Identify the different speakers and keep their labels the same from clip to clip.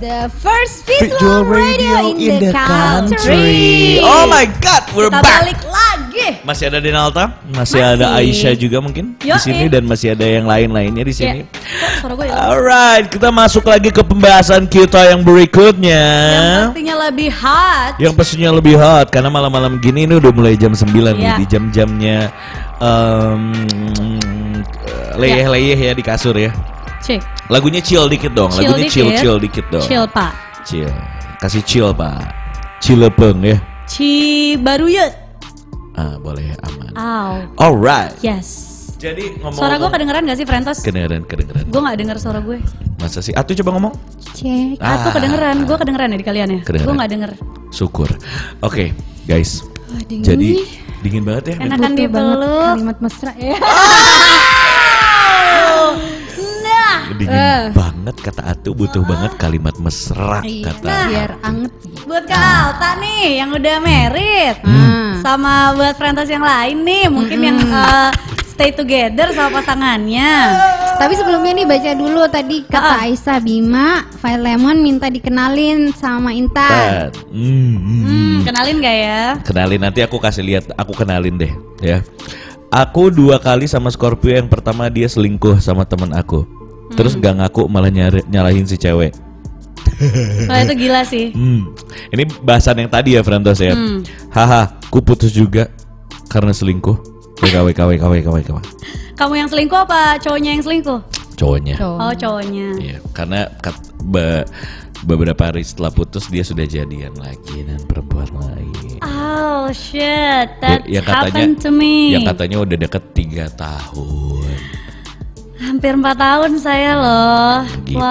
Speaker 1: the first
Speaker 2: Visual
Speaker 1: visual radio, in, the, country.
Speaker 2: Oh my god, we're
Speaker 1: Kita
Speaker 2: back.
Speaker 1: balik lagi.
Speaker 2: Masih ada Denalta, masih, ada Aisyah juga mungkin di
Speaker 1: Yoi.
Speaker 2: sini dan masih ada yang lain-lainnya di sini. Uh,
Speaker 1: Ya. Kok suara gue hilang?
Speaker 2: Alright, kita masuk lagi ke pembahasan kita yang berikutnya.
Speaker 1: Yang pastinya lebih hot.
Speaker 2: Yang pastinya lebih hot karena malam-malam gini ini udah mulai jam 9 nih
Speaker 1: Iya.
Speaker 2: di jam-jamnya em, leyeh-leyeh ya di kasur ya.
Speaker 1: Cek.
Speaker 2: Lagunya chill dikit dong,
Speaker 1: Chill
Speaker 2: lagunya
Speaker 1: dikit.
Speaker 2: chill chill dikit dong.
Speaker 1: Chill pak.
Speaker 2: Chill. Kasih chill, Pak. Cilepeng ya.
Speaker 1: Ci baru yuk.
Speaker 2: Ah, boleh aman.
Speaker 1: Ow.
Speaker 2: Alright.
Speaker 1: Yes.
Speaker 2: Jadi ngomong
Speaker 1: Suara gue kedengeran gak sih Frentos?
Speaker 2: kedengeran kedengeran.
Speaker 1: Gue gak denger suara gue.
Speaker 2: Masa sih? Atu coba ngomong.
Speaker 1: Cek.
Speaker 2: Ah.
Speaker 1: Aku kedengeran. Gue kedengeran ya di kalian ya?
Speaker 2: Kedengeran.
Speaker 1: Gue gak denger.
Speaker 2: Syukur. Oke, guys.
Speaker 3: Wah, dingin
Speaker 2: Jadi
Speaker 3: nih.
Speaker 2: dingin banget ya. men.
Speaker 1: Enakan gitu.
Speaker 3: Butuh banget
Speaker 1: dipeluk.
Speaker 3: kalimat mesra ya.
Speaker 1: Nah.
Speaker 2: Dingin
Speaker 3: Eh.
Speaker 2: banget kata Atu butuh banget kalimat mesra
Speaker 3: Iya,
Speaker 2: kata.
Speaker 3: Biar anget.
Speaker 1: Buat Kak Alta nih yang udah merit
Speaker 2: Hmm.
Speaker 1: Sama buat Frentos yang lain nih Mungkin yang
Speaker 2: Hmm.
Speaker 1: eh, stay together sama pasangannya
Speaker 3: Tapi sebelumnya nih baca dulu tadi kata
Speaker 1: Ah.
Speaker 3: Aisyah Bima, File Lemon minta dikenalin sama
Speaker 2: Tat.
Speaker 3: Intan.
Speaker 2: Hmm, hmm, hmm.
Speaker 1: Hmm, Kenalin gak ya?
Speaker 2: Kenalin nanti aku kasih lihat, aku kenalin deh, ya. Aku dua kali sama Scorpio yang pertama dia selingkuh sama teman aku.
Speaker 3: Hmm.
Speaker 2: Terus gak ngaku malah nyari- nyalahin si cewek.
Speaker 1: Kalau itu gila sih
Speaker 2: Hmm. Ini bahasan yang tadi ya Frantos ya.
Speaker 1: Hmm.
Speaker 2: Haha, ku putus juga karena selingkuh. WKW KW KW KW KW.
Speaker 1: Kamu yang selingkuh apa cowoknya yang selingkuh?
Speaker 2: Cowoknya.
Speaker 3: Tuh.
Speaker 1: Oh cowoknya
Speaker 2: Iya, karena kat- be- beberapa hari setelah putus dia sudah jadian lagi dengan perempuan lain.
Speaker 1: Oh shit That
Speaker 2: Ya- yang
Speaker 1: happened to me
Speaker 2: Yang katanya udah deket 3 tahun.
Speaker 1: Hampir 4 tahun saya loh
Speaker 2: Gitu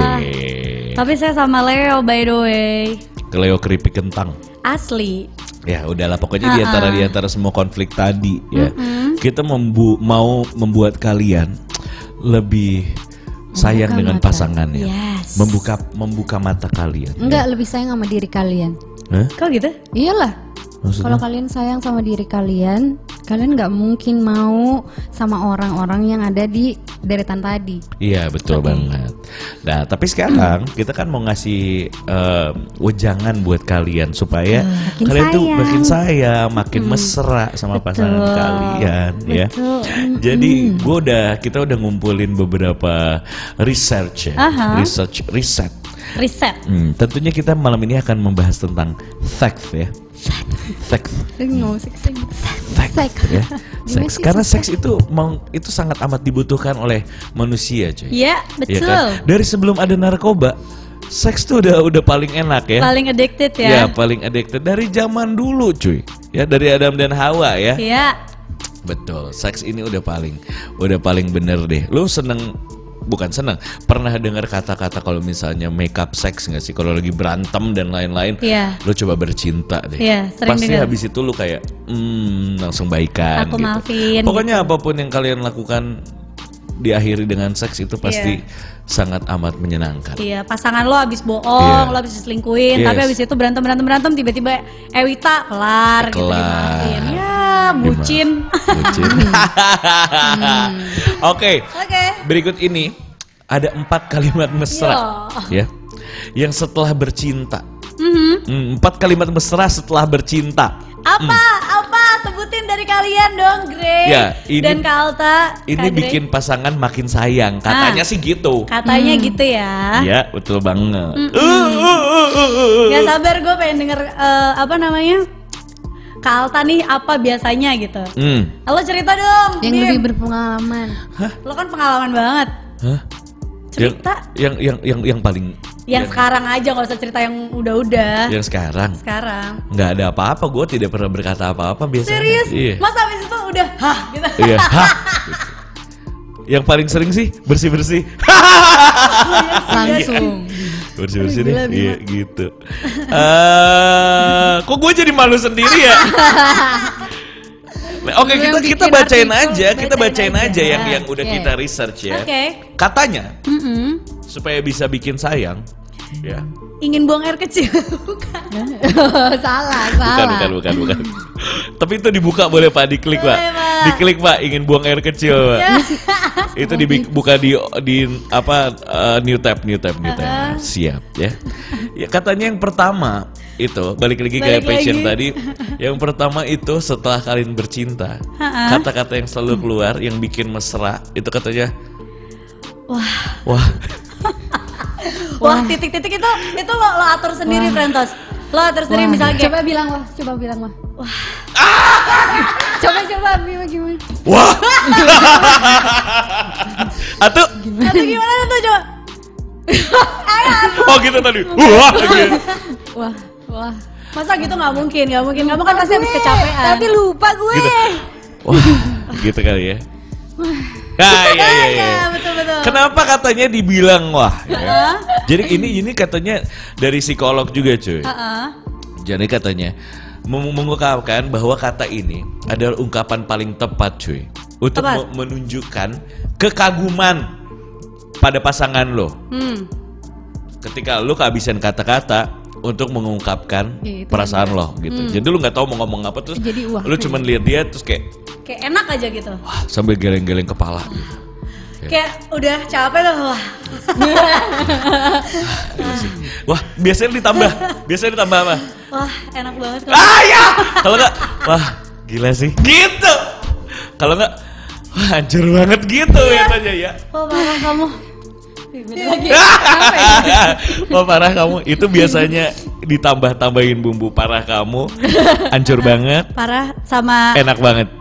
Speaker 2: deh.
Speaker 1: Tapi saya sama Leo by the way
Speaker 2: Keleo keripik kentang.
Speaker 1: Asli
Speaker 2: Ya udahlah pokoknya di antara di antara semua konflik tadi ya. Kita membu- mau membuat kalian lebih sayang dengan pasangannya.
Speaker 1: Yes.
Speaker 2: Membuka membuka mata kalian. ya.
Speaker 3: Enggak lebih sayang sama diri kalian.
Speaker 2: Hah?
Speaker 1: Kok gitu?
Speaker 3: Iyalah.
Speaker 2: Maksudnya?
Speaker 3: Kalau kalian sayang sama diri kalian, kalian nggak mungkin mau sama orang-orang yang ada di deretan tadi.
Speaker 2: Iya betul banget. Nah tapi sekarang
Speaker 3: Hmm.
Speaker 2: kita kan mau ngasih eh, wejangan buat kalian supaya
Speaker 3: Ah, makin
Speaker 2: kalian tuh
Speaker 3: sayang. Hmm.
Speaker 2: makin sayang, makin mesra sama pasangan
Speaker 1: Betul.
Speaker 2: kalian ya.
Speaker 3: Betul. Hmm,
Speaker 2: Jadi gue udah kita udah ngumpulin beberapa research ya,
Speaker 1: Aha.
Speaker 2: research riset.
Speaker 1: Reset
Speaker 2: Hmm, tentunya kita malam ini akan membahas tentang seks ya. Seks,
Speaker 3: Lagi ngomong seksi.
Speaker 2: seks,
Speaker 3: Seks.
Speaker 2: ya.
Speaker 3: Gimana
Speaker 2: Seks
Speaker 3: sih
Speaker 2: karena seks itu meng- itu sangat amat dibutuhkan oleh manusia cuy.
Speaker 1: Iya
Speaker 2: Iya
Speaker 1: betul
Speaker 2: kan? Dari sebelum ada narkoba, seks tuh udah udah paling enak ya.
Speaker 1: Paling addicted ya
Speaker 2: Ya, paling addicted dari zaman dulu, cuy. Ya dari Adam dan Hawa ya.
Speaker 1: Iya
Speaker 2: Betul. Seks ini udah paling udah paling bener deh. Lu seneng bukan seneng pernah dengar kata-kata kalau misalnya make up seks nggak sih kalau lagi berantem dan lain-lain
Speaker 1: Iya.
Speaker 2: lu coba bercinta deh
Speaker 1: Iya, sering
Speaker 2: pasti
Speaker 1: dengar.
Speaker 2: habis itu lu kayak hmm langsung baikan
Speaker 1: Aku
Speaker 2: gitu.
Speaker 1: maafin,
Speaker 2: pokoknya apapun yang kalian lakukan diakhiri dengan seks itu pasti sangat amat menyenangkan
Speaker 1: Iya, pasangan lo abis
Speaker 2: Iya.
Speaker 1: bohong, lo abis diselingkuhin,
Speaker 2: Yes.
Speaker 1: tapi abis itu berantem berantem berantem tiba-tiba Ewita kelar, gitu
Speaker 2: Kelar.
Speaker 1: dimarahin. Ya, bucin.
Speaker 2: Bucin.
Speaker 1: Hmm.
Speaker 2: Oke.
Speaker 1: Oke.
Speaker 2: Berikut ini ada empat kalimat mesra, ya,
Speaker 1: Iya.
Speaker 2: yang setelah bercinta.
Speaker 1: Mhm.
Speaker 2: Hmm, Empat kalimat mesra setelah bercinta.
Speaker 1: Apa apa sebutin dari kalian dong, Grey
Speaker 2: Hmm. Ya, ini-
Speaker 1: dan Kalta.
Speaker 2: Ini bikin pasangan makin
Speaker 1: Ah.
Speaker 2: sayang, katanya sih gitu.
Speaker 1: katanya gitu ya.
Speaker 2: Iya, betul banget. Uh, uh, uh, uh, uh.
Speaker 1: Gak sabar gue pengen denger eh, apa namanya Kalta nih apa biasanya gitu.
Speaker 2: Hmm.
Speaker 1: Lo cerita dong,
Speaker 3: Yang
Speaker 1: Bim.
Speaker 3: lebih berpengalaman.
Speaker 1: Lo kan pengalaman banget.
Speaker 2: Hah?
Speaker 1: Cerita
Speaker 2: Yang, yang yang yang yang paling
Speaker 1: yang
Speaker 2: Iya.
Speaker 1: sekarang aja gak usah cerita yang udah-udah.
Speaker 2: yang sekarang
Speaker 1: Sekarang.
Speaker 2: nggak ada apa-apa, gue tidak pernah berkata apa-apa biasanya.
Speaker 1: Serius?
Speaker 2: Iya.
Speaker 1: Mas habis itu udah hah gitu.
Speaker 2: Iya. Hah? Gitu. Yang paling sering sih bersih bersih.
Speaker 3: Langsung.
Speaker 2: bersih bersih deh. Iya gitu. Eh, kok gue jadi malu sendiri ya? Nah, Oke
Speaker 3: Lu
Speaker 2: kita
Speaker 3: yang
Speaker 2: kita
Speaker 3: bikin
Speaker 2: bacain
Speaker 3: artikel,
Speaker 2: aja, kita
Speaker 1: bacain
Speaker 2: bacain aja
Speaker 1: aja.
Speaker 2: yang yang udah
Speaker 3: Oke.
Speaker 2: kita research ya.
Speaker 1: Oke.
Speaker 2: Katanya
Speaker 1: Mm-mm.
Speaker 2: supaya bisa bikin sayang, Ya.
Speaker 1: ingin buang air kecil bukan
Speaker 3: salah,
Speaker 2: Bukan,
Speaker 3: salah.
Speaker 2: bukan, bukan, bukan. Tapi itu dibuka boleh Pak, diklik Pak.
Speaker 1: Boleh, Pak. Iya.
Speaker 2: Diklik Pak, ingin buang air kecil Pak. itu dibuka di di apa eh, new tab, new tab, new
Speaker 1: Uh-huh.
Speaker 2: tab. Siap ya. Ya katanya yang pertama itu balik lagi kayak
Speaker 1: Balik
Speaker 2: passion
Speaker 1: lagi.
Speaker 2: tadi. Yang pertama itu setelah kalian bercinta,
Speaker 1: Uh-huh.
Speaker 2: kata-kata yang selalu keluar yang bikin mesra itu katanya
Speaker 1: wah
Speaker 2: wah
Speaker 3: Ya,
Speaker 1: wah titik-titik itu itu lo, lo atur sendiri Frentos lo atur sendiri
Speaker 3: Wah.
Speaker 1: misalnya kayak
Speaker 3: Coba bilang wah, coba bilang wah. coba coba gimana gimana?
Speaker 2: wah. Atau
Speaker 1: atau gimana tuh coba
Speaker 2: oh gitu tadi. Wah gitu.
Speaker 3: Wah, wah.
Speaker 1: masa gitu nggak mungkin nggak mungkin kamu kan pasti habis
Speaker 3: Gue,
Speaker 1: kecapean
Speaker 3: Tapi lupa gue.
Speaker 2: gitu. Wah, gitu kali ya. Nah, iya, iya, iya.
Speaker 1: Iya, betul betul
Speaker 2: Kenapa katanya dibilang wah? ya? Jadi ini ini katanya dari psikolog juga cuy.
Speaker 1: Heeh.
Speaker 2: Jadi katanya mem- mengungkapkan bahwa kata ini adalah ungkapan paling tepat cuy untuk
Speaker 1: Tepat.
Speaker 2: me- menunjukkan kekaguman pada pasangan lo
Speaker 1: hmm.
Speaker 2: ketika lu kehabisan kata-kata untuk mengungkapkan
Speaker 3: Iya, itu
Speaker 2: perasaan lo gitu. Jadi lu nggak tahu mau ngomong apa terus
Speaker 3: Jadi wah.
Speaker 2: lu cuman lihat dia terus kayak
Speaker 1: kayak enak aja gitu
Speaker 2: wah sambil geleng-geleng kepala gitu.
Speaker 1: kayak udah capek tuh wah
Speaker 2: Wah, biasanya ditambah. Biasanya ditambah apa?
Speaker 1: wah enak banget kalau
Speaker 2: Ah ya! Kalau enggak, wah gila sih. Gitu. Kalau enggak, wah hancur banget gitu ya aja ya.
Speaker 1: oh parah kamu
Speaker 3: Iya.
Speaker 2: Wah parah kamu. Itu biasanya ditambah-tambahin bumbu parah kamu. Hancur banget.
Speaker 1: parah sama
Speaker 2: Enak banget. Eh.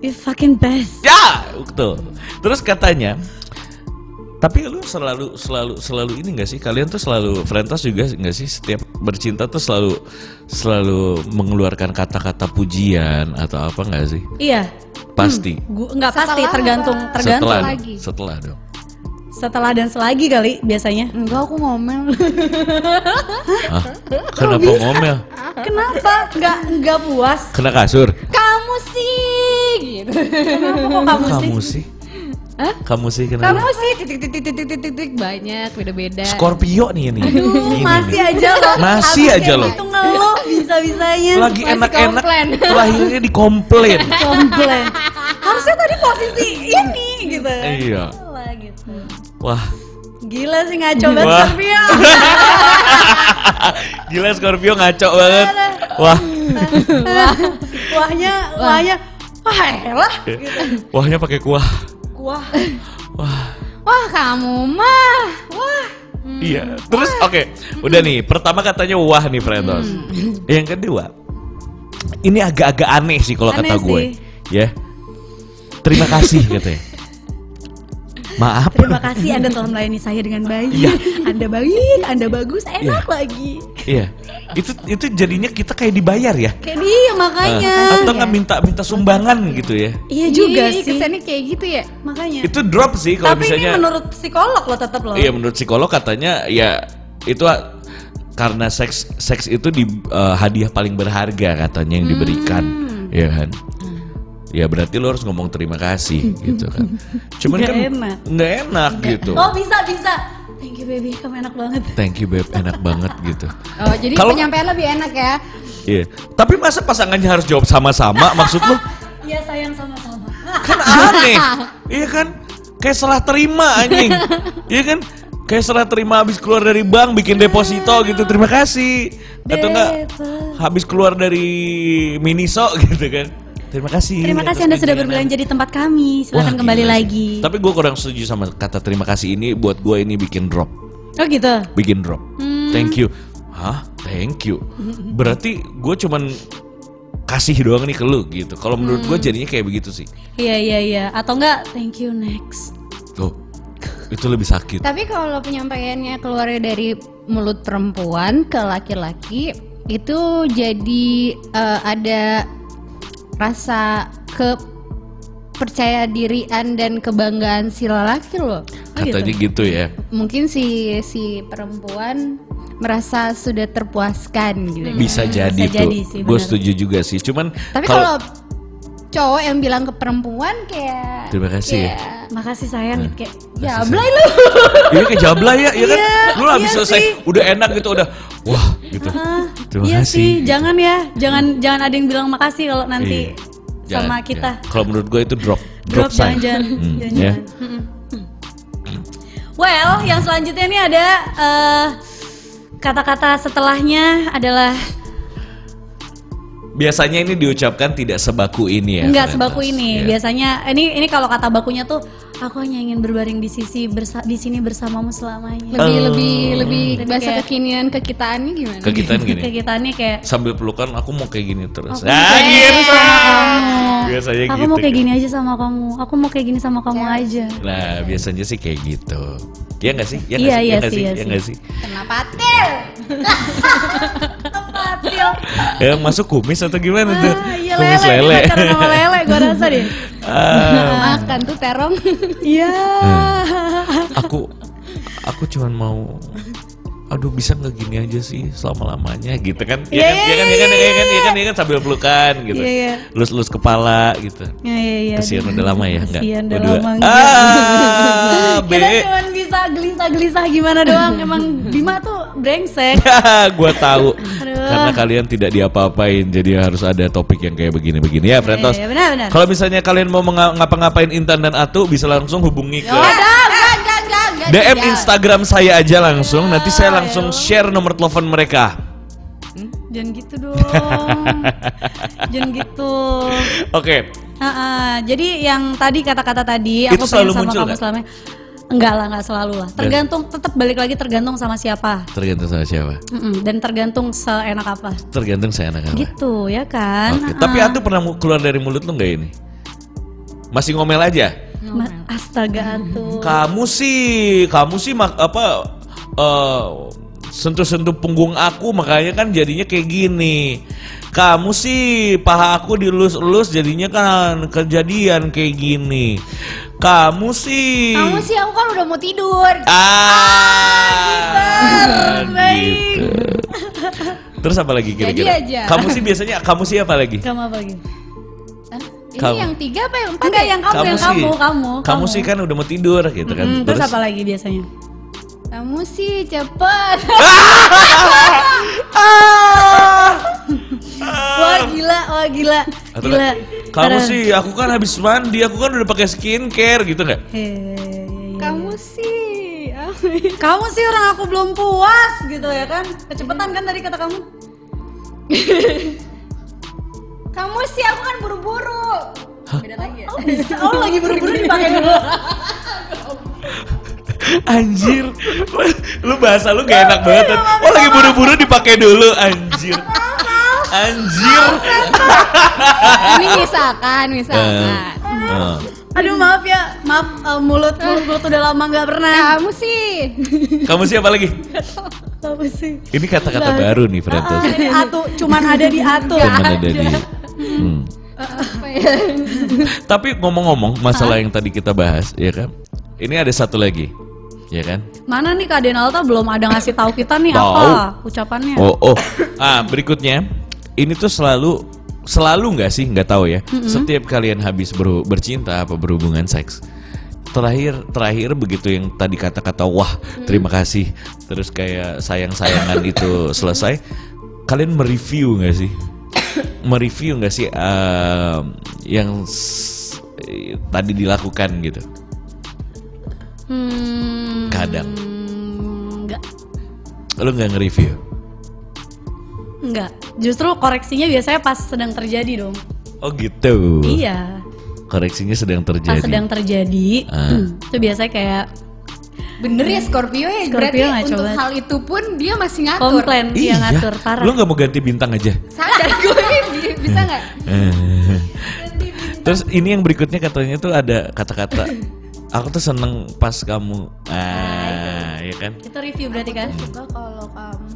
Speaker 1: you fucking best
Speaker 2: Ya, betul. Terus katanya tapi lu selalu selalu selalu ini gak sih kalian tuh selalu Frentos juga gak sih setiap bercinta tuh selalu selalu mengeluarkan kata-kata pujian atau apa gak sih
Speaker 1: iya
Speaker 2: pasti
Speaker 1: gua nggak pasti
Speaker 3: Setelah
Speaker 1: tergantung
Speaker 3: apa?
Speaker 1: tergantung
Speaker 2: setelah
Speaker 3: lagi.
Speaker 2: setelah dong
Speaker 1: setelah dan selagi kali biasanya
Speaker 3: Enggak, aku ngomel.
Speaker 2: Hah? kenapa ngomel
Speaker 1: kenapa nggak nggak puas
Speaker 2: kena kasur
Speaker 3: Kamu sih gitu.
Speaker 1: kenapa kok
Speaker 2: kamu
Speaker 1: kamu sih
Speaker 2: sih
Speaker 3: Hah?
Speaker 2: kamu sih
Speaker 3: Kamu
Speaker 2: kenapa
Speaker 3: sih titik titik titik titik titik banyak beda-beda.
Speaker 2: Scorpio nih ini
Speaker 1: Aduh,
Speaker 2: Ini
Speaker 1: masih
Speaker 2: nih.
Speaker 1: aja loh
Speaker 2: Masih aja lo.
Speaker 1: itu ngeluh bisa bisanya
Speaker 2: lagi
Speaker 3: masih
Speaker 2: enak-enak
Speaker 3: komplain.
Speaker 2: lahirnya dikomplain
Speaker 1: komplain harusnya tadi posisi ini gitu
Speaker 2: iya
Speaker 1: Salah gitu
Speaker 2: wah
Speaker 1: gila sih ngaco banget
Speaker 2: Wah.
Speaker 1: Scorpio
Speaker 2: Gila Scorpio ngaco banget. Wah,
Speaker 1: wahnya wahnya wah elah
Speaker 2: Iya. wahnya pakai kuah.
Speaker 1: wah
Speaker 2: Wah,
Speaker 3: Wah, kamu mah. Wah.
Speaker 1: Hmm.
Speaker 2: iya. Terus oke, udah nih. Pertama katanya wah nih Frentos.
Speaker 1: Hmm.
Speaker 2: Yang kedua, ini agak-agak aneh sih kalau
Speaker 1: Aneh
Speaker 2: kata gue.
Speaker 1: sih.
Speaker 2: Ya. Terima kasih katanya. Maaf.
Speaker 1: terima kasih anda telah melayani saya dengan baik anda baik anda bagus enak lagi
Speaker 2: Iya. Itu itu jadinya kita kayak dibayar ya.
Speaker 1: kayak dia
Speaker 2: Eh,
Speaker 1: makanya
Speaker 2: atau nggak minta minta sumbangan gitu ya.
Speaker 1: iya juga
Speaker 3: Ih,
Speaker 1: sih
Speaker 3: Kesannya kayak gitu ya.
Speaker 1: makanya
Speaker 2: Itu drop sih kalau
Speaker 1: Iya. tapi
Speaker 2: misalnya
Speaker 1: ini menurut psikolog lo tetap lo
Speaker 2: Iya menurut psikolog katanya ya itu ah, karena seks seks itu di eh, hadiah paling berharga katanya yang diberikan, ya kan? Ya berarti lo harus ngomong terima kasih gitu kan. Cuman
Speaker 1: Nggak
Speaker 2: kan
Speaker 1: enak.
Speaker 2: nggak enak gitu.
Speaker 1: oh bisa bisa thank you baby kamu enak banget
Speaker 2: Thank you beb enak banget gitu.
Speaker 3: Oh, jadi
Speaker 2: Kalau-
Speaker 3: penyampaian lebih enak ya.
Speaker 2: Iya. Tapi masa pasangannya harus jawab sama-sama maksud lo?
Speaker 1: iya sayang sama-sama
Speaker 2: Kan aneh. Iya kan? Kayak salah terima anjing. Iya kan? Kayak salah terima habis keluar dari bank bikin deposito gitu. Terima kasih. Atau enggak habis keluar dari Miniso gitu kan. Terima kasih.
Speaker 1: Terima
Speaker 2: atas
Speaker 1: kasih Anda sudah
Speaker 2: keinginan.
Speaker 1: berbelanja di tempat kami. Silakan
Speaker 2: Wah,
Speaker 1: kembali
Speaker 2: gila sih.
Speaker 1: lagi.
Speaker 2: Tapi gue kurang setuju sama kata terima kasih ini buat gue ini bikin drop.
Speaker 1: Oh gitu.
Speaker 2: Bikin drop.
Speaker 1: Hmm.
Speaker 2: Thank you. Hah? Thank you. Berarti gue cuman kasih doang nih ke lu gitu. Kalau menurut
Speaker 1: Hmm.
Speaker 2: gue jadinya kayak begitu sih.
Speaker 1: Iya iya iya. Atau enggak? Thank you next.
Speaker 2: Tuh. Itu lebih sakit.
Speaker 3: Tapi kalau penyampaiannya keluar dari mulut perempuan ke laki-laki itu jadi eh, ada rasa kepercaya dirian dan kebanggaan si lelaki
Speaker 1: oh
Speaker 3: loh.
Speaker 2: Katanya gitu ya.
Speaker 1: Hmm,
Speaker 3: Mungkin si si perempuan merasa sudah terpuaskan gitu.
Speaker 2: Bisa jadi
Speaker 1: Bisa
Speaker 2: tuh.
Speaker 1: jadi sih,
Speaker 2: Gue
Speaker 1: benar.
Speaker 2: setuju juga sih. Cuman
Speaker 3: Tapi kalau cowok yang bilang ke perempuan kayak
Speaker 2: Terima kasih ya.
Speaker 3: kayak,
Speaker 1: Makasih sayang
Speaker 2: Nah.
Speaker 1: kayak
Speaker 3: ya blay lu
Speaker 2: Ini kayak jabla ya, ya kan?
Speaker 1: Iya,
Speaker 2: Lu habis
Speaker 1: iya
Speaker 2: selesai,
Speaker 1: sih.
Speaker 2: udah enak gitu, udah wah gitu.
Speaker 1: "Ah,
Speaker 2: Terima
Speaker 1: iya
Speaker 2: kasih.
Speaker 1: sih, jangan ya, jangan jangan ada yang bilang makasih kalau
Speaker 2: Iya.
Speaker 1: nanti
Speaker 2: Jangan, iya.
Speaker 1: sama kita
Speaker 2: Kalau menurut gue itu drop, drop,
Speaker 1: drop
Speaker 2: sign.
Speaker 1: jangan-jangan.
Speaker 2: Hmm,
Speaker 1: Jangan-jangan.
Speaker 2: ya.
Speaker 1: Mm-mm. hmm. Well, yang selanjutnya ini ada eh, kata-kata setelahnya adalah
Speaker 2: Biasanya ini diucapkan tidak sebaku ini ya.
Speaker 1: enggak
Speaker 2: ternyata.
Speaker 1: sebaku ini.
Speaker 2: Iya.
Speaker 1: Biasanya ini ini kalau kata bakunya tuh aku hanya ingin berbaring di sisi bersa- di sini bersamamu selamanya.
Speaker 3: lebih
Speaker 2: Oh.
Speaker 3: lebih lebih
Speaker 1: Lebih
Speaker 3: bahasa
Speaker 1: kayak-
Speaker 3: kekinian kekitaannya gimana
Speaker 2: Kegiatan gini.
Speaker 1: Kegiatannya kayak
Speaker 2: Sambil pelukan aku mau kayak gini terus.
Speaker 1: Aku
Speaker 2: ah,
Speaker 1: mau
Speaker 2: gitu.
Speaker 1: kamu.
Speaker 2: Biasanya
Speaker 1: Oh, Iya. aku
Speaker 2: gitu.
Speaker 1: mau kayak
Speaker 2: kan.
Speaker 1: gini aja sama kamu. Aku mau kayak gini sama kamu aja.
Speaker 2: Nah, biasanya sih kayak gitu. Iya gak sih?
Speaker 1: Iya,
Speaker 2: nggak
Speaker 1: iya
Speaker 2: nggak
Speaker 1: sih,
Speaker 2: Iya
Speaker 1: iya sih.
Speaker 2: nggak sih?
Speaker 3: kenapa til
Speaker 1: Patil.
Speaker 2: Ya, masuk kumis atau gimana tuh?
Speaker 1: Ah, iya
Speaker 2: kumis
Speaker 1: lele,
Speaker 2: lele.
Speaker 1: lele. sama lele gua rasa deh.
Speaker 2: Ah,
Speaker 3: makan tuh terong
Speaker 1: Iya.
Speaker 2: Hmm. aku aku cuman mau aduh bisa nggak gini aja sih selama lamanya gitu kan
Speaker 1: Iya,
Speaker 2: ya kan ya kan ya kan ya kan ya kan ya kan sambil pelukan gitu
Speaker 1: Iya, iya.
Speaker 2: lus lus kepala gitu
Speaker 1: Ya, ya, ya.
Speaker 2: kasihan udah lama ya enggak
Speaker 1: Kasihan udah
Speaker 2: Berdua.
Speaker 1: lama enggak.
Speaker 2: ah B
Speaker 1: Kita cuma bisa gelisah-gelisah gimana doang. Emang Bima tuh brengsek.
Speaker 2: gue tahu karena kalian tidak diapa-apain jadi harus ada topik yang kayak begini-begini ya Frentos
Speaker 1: Iya, iya, benar, benar.
Speaker 2: kalau misalnya kalian mau menga- ngapa-ngapain Intan dan Atu bisa langsung hubungi ke
Speaker 1: Ya,
Speaker 3: enggak enggak enggak enggak, enggak
Speaker 2: DM Instagram saya aja langsung. Nanti saya langsung share nomor telepon mereka.
Speaker 1: Jangan gitu dong. Jangan gitu.
Speaker 2: Oke.
Speaker 1: Ha-ha, jadi yang tadi kata-kata tadi
Speaker 2: Itu
Speaker 1: aku pengen
Speaker 2: selalu
Speaker 1: sama
Speaker 2: muncul
Speaker 1: kamu
Speaker 2: nggak?
Speaker 1: selamanya. Enggak lah, enggak selalu lah. Tergantung, tetap balik lagi tergantung sama siapa.
Speaker 2: Tergantung sama siapa?
Speaker 1: Mm-mm, dan tergantung seenak apa.
Speaker 2: Tergantung saya anak apa.
Speaker 1: Gitu ya kan.
Speaker 2: Oke. Tapi Atu pernah mu- keluar dari mulut lu nggak ini? Masih ngomel aja.
Speaker 1: Ma- Astaga tuh.
Speaker 2: Kamu sih, kamu sih mak apa eh, sentuh-sentuh punggung aku makanya kan jadinya kayak gini. Kamu sih paha aku dilus-elus jadinya kan kejadian kayak gini. Kamu sih.
Speaker 3: kamu sih aku kan udah mau tidur
Speaker 2: Ah, gitu. Terus apa lagi kira-kira?
Speaker 3: Jadi aja.
Speaker 2: Kamu sih biasanya kamu sih apa lagi?
Speaker 1: Kamu ya, apa lagi?
Speaker 3: Hah? ini
Speaker 2: Kamu.
Speaker 3: yang tiga apa yang empat
Speaker 1: Enggak
Speaker 3: ya?
Speaker 1: yang kamu, yang kamu, kamu,
Speaker 2: Kamu sih kan udah mau tidur gitu kan.
Speaker 1: Mm, terus, apa lagi biasanya?
Speaker 3: kamu sih cepet
Speaker 2: Ah!
Speaker 1: Wah gila, wah gila,
Speaker 2: Atau
Speaker 1: gila.
Speaker 2: nggak, Kamu
Speaker 1: Parah.
Speaker 2: sih aku kan habis mandi, aku kan udah pakai skincare gitu nggak?
Speaker 1: Iya, Hei,
Speaker 3: kamu sih
Speaker 1: kamu sih orang aku belum puas gitu ya kan? Kecepatan kan tadi kata kamu?
Speaker 3: kamu sih aku kan buru-buru beda lagi ya
Speaker 1: Oh bisa, oh lagi buru-buru dipakai dulu.
Speaker 2: Anjir, lu bahasa lu gak enak
Speaker 1: Iya,
Speaker 2: banget. Tan. Oh lagi buru-buru dipakai dulu, anjir. Anjir.
Speaker 3: ini misalkan
Speaker 2: Eh,
Speaker 3: misalkan
Speaker 2: eh.
Speaker 1: Aduh maaf ya, maaf eh, mulut mulut udah lama nggak pernah.
Speaker 3: Nah, kamu sih
Speaker 2: Kamu siapa lagi?
Speaker 1: Kamu sih.
Speaker 2: Ini kata-kata baru nih,
Speaker 1: Ah,
Speaker 2: Frentos.
Speaker 1: ini atu, cuman ada di atu.
Speaker 2: Cuman ada di. Hmm.
Speaker 3: apa ya
Speaker 2: Tapi ngomong-ngomong masalah yang tadi kita bahas, ya kan? Ini ada satu lagi, ya kan?
Speaker 1: Mana nih Kak Den Alta belum ada ngasih tahu kita nih
Speaker 2: Tahu.
Speaker 1: apa ucapannya?
Speaker 2: Oh, oh. Ah, berikutnya. Ini tuh selalu selalu nggak sih? Nggak tahu ya. Setiap kalian habis beru- bercinta apa berhubungan seks, terakhir terakhir begitu yang tadi kata-kata wah
Speaker 1: Mm.
Speaker 2: terima kasih terus kayak sayang-sayangan itu selesai, kalian mereview nggak sih? mereview nggak sih eh, yang s- eh, tadi dilakukan gitu?
Speaker 1: Hmm,
Speaker 2: Kadang
Speaker 1: enggak.
Speaker 2: lu nggak nge-review.
Speaker 1: Enggak, justru koreksinya biasanya pas sedang terjadi dong.
Speaker 2: Oh gitu.
Speaker 1: Iya,
Speaker 2: Koreksinya sedang
Speaker 1: pas
Speaker 2: terjadi.
Speaker 1: sedang terjadi
Speaker 2: Ah.
Speaker 1: hmm, itu biasanya kayak
Speaker 3: bener ya Scorpio ya
Speaker 1: Scorpio
Speaker 3: berarti
Speaker 1: nggak
Speaker 3: untuk
Speaker 1: coba.
Speaker 3: hal itu pun dia masih ngatur
Speaker 1: komplain
Speaker 2: Iya.
Speaker 1: dia ngatur parah.
Speaker 2: Lu nggak mau ganti bintang aja.
Speaker 3: sadar gue bi- bisa nggak
Speaker 2: Terus ini yang berikutnya katanya tuh ada kata-kata. Aku tuh seneng pas kamu. Ah, ya kan?
Speaker 1: Itu review berarti kan?
Speaker 3: coba kalau kamu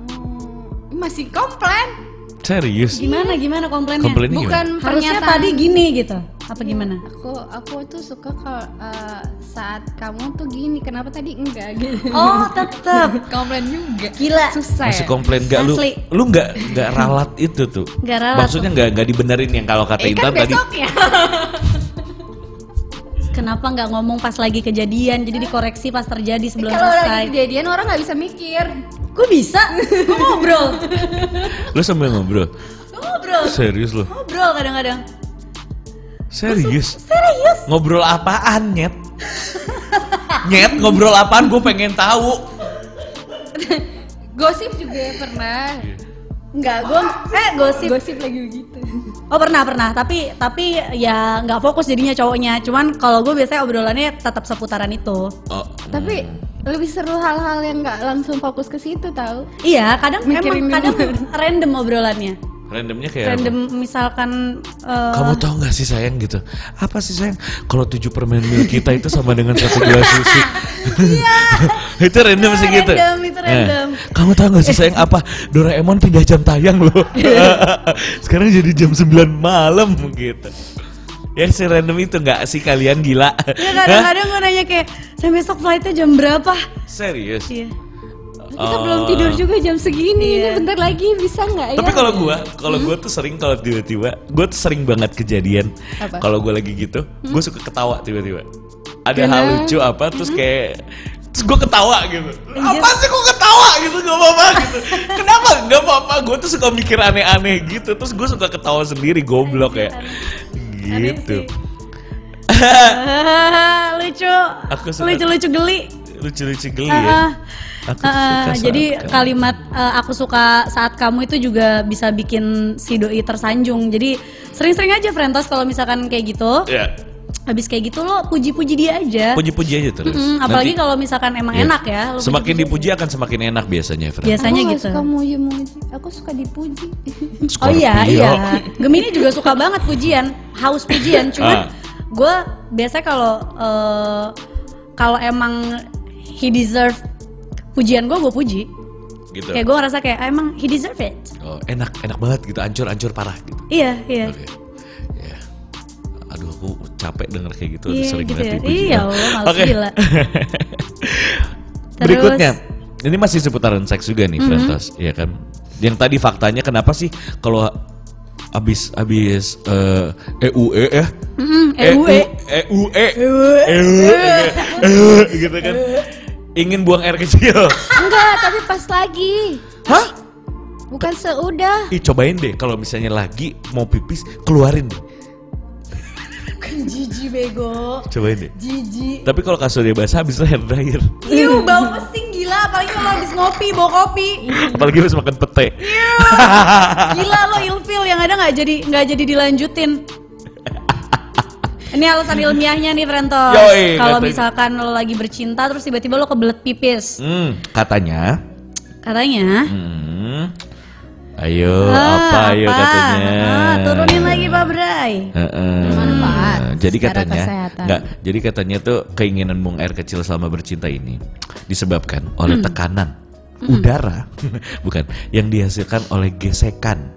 Speaker 3: masih komplain
Speaker 2: Serius.
Speaker 1: Gimana gimana komplainnya? Hmm,
Speaker 2: Komplainnya
Speaker 3: bukan
Speaker 2: gimana?
Speaker 1: Harusnya
Speaker 3: pernyataan
Speaker 1: tadi gini gitu. apa gimana?
Speaker 3: Aku aku tuh suka kalau eh, saat kamu tuh gini, kenapa tadi enggak gitu?
Speaker 1: Oh tetep
Speaker 3: Komplain juga.
Speaker 1: Gila.
Speaker 3: Susah.
Speaker 2: Masih
Speaker 3: ya?
Speaker 2: komplain gak lu?
Speaker 1: Asli.
Speaker 2: Lu gak, nggak ralat itu tuh.
Speaker 1: Nggak ralat
Speaker 2: Maksudnya gak, nggak dibenerin yang kalau kata
Speaker 3: Eh,
Speaker 2: Intan
Speaker 3: kan
Speaker 2: tadi.
Speaker 3: besoknya.
Speaker 1: Kenapa nggak ngomong pas lagi kejadian? Jadi dikoreksi pas terjadi sebelum
Speaker 3: Kalau lagi
Speaker 1: selesai.
Speaker 3: kejadian orang nggak bisa mikir.
Speaker 1: Gue bisa, gue ngobrol,
Speaker 2: Lu sambil ngobrol.
Speaker 1: Gua ngobrol,
Speaker 2: Serius lu?
Speaker 1: ngobrol kadang-kadang.
Speaker 2: Serius?
Speaker 1: Serius?
Speaker 2: Ngobrol apaan, Nyet? Nyet, ngobrol apaan? Gue pengen tahu.
Speaker 3: Gosip juga ya pernah.
Speaker 1: Nggak, gue eh gosip.
Speaker 3: Gosip lagi begitu.
Speaker 1: Oh pernah pernah, tapi tapi ya nggak fokus jadinya cowoknya. Cuman kalau gue biasanya obrolannya tetap seputaran itu.
Speaker 2: Oh,
Speaker 3: Tapi lebih seru hal-hal yang nggak langsung fokus ke situ tahu.
Speaker 1: Iya, kadang
Speaker 3: Mikirin
Speaker 1: emang kadang
Speaker 3: dulu.
Speaker 1: random obrolannya.
Speaker 2: randomnya kayak apa?
Speaker 1: Random misalkan eh,
Speaker 2: Iya, Kamu tahu nggak sih sayang gitu? Apa sih sayang? Kalau tujuh permen milik kita itu sama dengan satu gelas susu. itu random
Speaker 1: Itu
Speaker 2: sih gitu.
Speaker 1: Iya. Nah, random, itu
Speaker 2: Eh,
Speaker 1: random.
Speaker 2: kamu tahu nggak sih sayang apa? Doraemon pindah jam tayang loh. Sekarang jadi jam 9 malam gitu. Ya si random itu nggak sih kalian gila?
Speaker 1: Iya
Speaker 2: Hah?
Speaker 1: kadang-kadang gue nanya kayak, saya besok flightnya jam berapa?
Speaker 2: Serius.
Speaker 1: Iya.
Speaker 2: Oh.
Speaker 3: Kita belum tidur juga jam segini. Ini bentar lagi bisa nggak ya?
Speaker 2: Tapi
Speaker 1: Iya.
Speaker 2: kalau gua, kalau gua tuh sering kalau tiba-tiba, gua tuh sering banget kejadian.
Speaker 3: Apa?
Speaker 2: Kalau gua lagi gitu, gua
Speaker 1: Hmm?
Speaker 2: suka ketawa tiba-tiba. Ada hal
Speaker 3: Kenapa?
Speaker 2: lucu apa terus kayak terus gua ketawa gitu. Apa sih gua ketawa gitu gak apa-apa gitu. Kenapa gak apa-apa? Gua tuh suka mikir aneh-aneh gitu. Terus gua suka ketawa sendiri goblok ya.
Speaker 1: Aneh
Speaker 2: Gitu.
Speaker 1: sih. lucu,
Speaker 2: Aku suka-
Speaker 1: lucu-lucu geli.
Speaker 2: Lucu-lucu geli
Speaker 1: Ah, ah.
Speaker 2: ya. Aku tuh
Speaker 1: Ah,
Speaker 2: suka
Speaker 1: ah, jadi
Speaker 2: saat-
Speaker 1: kalimat eh, aku suka saat kamu itu juga bisa bikin si doi tersanjung. Jadi sering-sering aja Frentos kalau misalkan kayak gitu,
Speaker 2: ya.
Speaker 1: habis kayak gitu lo puji-puji dia aja.
Speaker 2: Puji-puji aja terus.
Speaker 1: Mm, apalagi
Speaker 2: Nanti-
Speaker 1: kalau misalkan emang
Speaker 2: Iya.
Speaker 1: enak ya. lo
Speaker 2: Semakin dipuji
Speaker 1: puji-puji.
Speaker 2: akan semakin enak biasanya, Fran.
Speaker 1: biasanya
Speaker 3: aku nggak
Speaker 1: gitu.
Speaker 3: suka muji-muji. Aku suka dipuji.
Speaker 1: Oh iya
Speaker 2: Scorpio.
Speaker 1: iya. Gemini juga suka banget pujian, haus pujian.
Speaker 2: Ah.
Speaker 1: Cuman gue biasanya kalau eh, kalau emang he deserve pujian gue gue puji.
Speaker 2: Gitu.
Speaker 1: Kayak gue ngerasa kayak "Ah, emang he deserve it.
Speaker 2: Oh, enak enak banget gitu ancur ancur parah gitu
Speaker 1: Iya iya.
Speaker 2: oke ya aduh aku capek denger kayak gitu
Speaker 1: Iya,
Speaker 2: sering
Speaker 1: gitu
Speaker 2: banget
Speaker 1: ya.
Speaker 2: ibu juga.
Speaker 1: Iya, Allah, males
Speaker 2: Oke.
Speaker 1: gila. Terus- Mm-hmm.
Speaker 2: berikutnya ini masih seputaran seks juga nih Frentos ya kan yang tadi faktanya kenapa sih kalau abis abis eh E EUE ya
Speaker 1: Mm-mm, eh, EUE.
Speaker 2: EUE E. EUE EUE gitu kan ingin buang air kecil
Speaker 3: Enggak, tapi pas lagi.
Speaker 2: hah
Speaker 3: Bukan seudah.
Speaker 2: Ih, cobain deh kalau misalnya lagi mau pipis keluarin deh
Speaker 1: Jiji bego.
Speaker 2: cobain deh
Speaker 1: Jiji.
Speaker 2: Tapi kalau kasurnya basah habis itu hair dryer.
Speaker 1: Iu bau pesing gila apalagi kalau habis ngopi bawa kopi.
Speaker 2: Apalagi harus makan pete.
Speaker 1: Gila lo ilfil yang ada nggak jadi nggak jadi dilanjutin. Ini alasan ilmiahnya nih Frento.
Speaker 2: Yoi,
Speaker 1: Kalau
Speaker 2: katanya.
Speaker 1: misalkan lo lagi bercinta terus tiba-tiba lo kebelet pipis,
Speaker 2: Hmm, katanya.
Speaker 1: katanya.
Speaker 2: Hmm. Ayo,
Speaker 1: Ah,
Speaker 2: Oh, apa ayo katanya.
Speaker 1: Ah, turunin lagi Pak Bray.
Speaker 2: Heeh.
Speaker 3: Bermanfaat
Speaker 2: Jadi
Speaker 3: secara
Speaker 2: katanya,
Speaker 3: kesehatan.
Speaker 2: nggak. Jadi katanya tuh keinginan buang air kecil selama bercinta ini disebabkan oleh
Speaker 1: Hmm.
Speaker 2: tekanan udara, bukan, yang dihasilkan oleh gesekan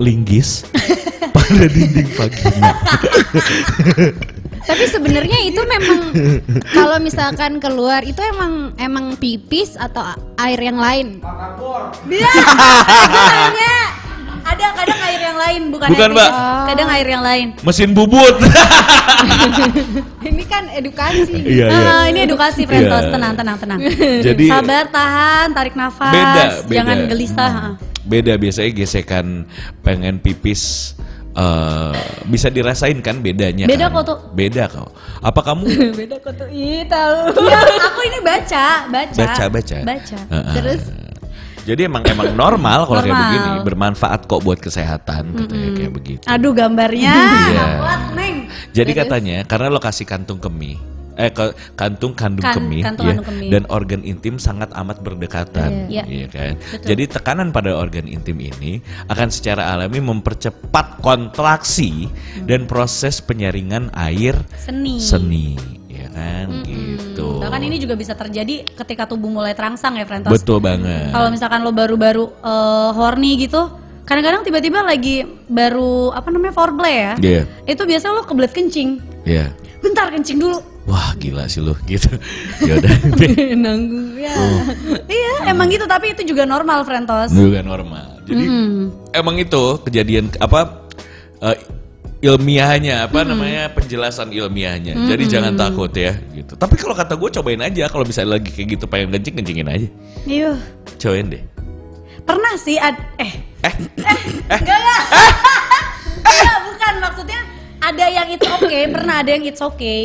Speaker 2: linggis pada dinding vagina.
Speaker 3: Tapi sebenarnya itu memang kalau misalkan keluar itu emang emang pipis atau a- air yang lain.
Speaker 1: Bila tanya ada kadang air yang lain bukan,
Speaker 2: Bukan,
Speaker 1: air
Speaker 2: Mbak.
Speaker 1: pipis, Kadang air yang lain.
Speaker 2: Mesin bubut.
Speaker 3: Ini kan edukasi.
Speaker 2: Iya, iya.
Speaker 1: Ah, ini edukasi Frentos,
Speaker 2: Iya.
Speaker 1: tenang tenang tenang.
Speaker 2: Jadi-
Speaker 1: sabar tahan, tarik nafas,
Speaker 2: beda, beda.
Speaker 1: jangan gelisah. ah.
Speaker 2: Hmm. Beda biasanya gesekan pengen pipis eh, bisa dirasain kan bedanya.
Speaker 1: Beda
Speaker 2: kan?
Speaker 1: kok tuh.
Speaker 2: Beda kok. Apa kamu
Speaker 3: Beda kok tuh. Ih, tahu.
Speaker 1: Iya, aku ini baca, baca.
Speaker 2: baca baca? Ah,
Speaker 1: Baca.
Speaker 2: Heeh.
Speaker 3: Terus?
Speaker 2: Jadi emang emang normal kalau kayak
Speaker 1: Normal.
Speaker 2: begini bermanfaat kok buat kesehatan katanya kayak begitu.
Speaker 1: Aduh gambarnya.
Speaker 2: Iya.
Speaker 1: Kuat, Neng.
Speaker 2: Jadi katanya karena lokasi kantung kemih eh ke- kantung kandung
Speaker 1: Kan-
Speaker 2: kemih
Speaker 1: kantung
Speaker 2: ya,
Speaker 1: kandung kemih.
Speaker 2: dan organ intim sangat amat berdekatan
Speaker 1: Iya.
Speaker 2: iya kan. Jadi tekanan pada organ intim ini akan secara alami mempercepat kontraksi
Speaker 1: Hmm.
Speaker 2: dan proses penyaringan air
Speaker 1: Seni.
Speaker 2: seni ya kan gitu.
Speaker 1: Bahkan ini juga bisa terjadi ketika tubuh mulai terangsang ya, Frentos.
Speaker 2: Betul banget.
Speaker 1: Kalau misalkan lo baru-baru eh, horny gitu, kadang-kadang tiba-tiba lagi baru apa namanya foreplay ya
Speaker 2: Iya.
Speaker 1: itu biasa lo kebelet kencing
Speaker 2: Iya.
Speaker 1: bentar kencing dulu
Speaker 2: Wah, gila sih lu gitu. Ya udah.
Speaker 3: nanggung ya
Speaker 2: Oh.
Speaker 1: iya emang gitu tapi itu juga normal Frentos
Speaker 2: juga normal. Jadi
Speaker 3: Hmm.
Speaker 2: emang itu kejadian apa eh, ilmiahnya apa namanya penjelasan ilmiahnya. Jadi jangan takut ya gitu. Tapi kalau kata gue cobain aja kalau misalnya lagi kayak gitu pengen kencing kencingin aja.
Speaker 1: Yuh.
Speaker 2: Cobain deh.
Speaker 1: Pernah sih ad eh eh enggak enggak.
Speaker 2: Eh.
Speaker 1: Enggak, bukan maksudnya ada yang it's okay, pernah ada yang it's okay.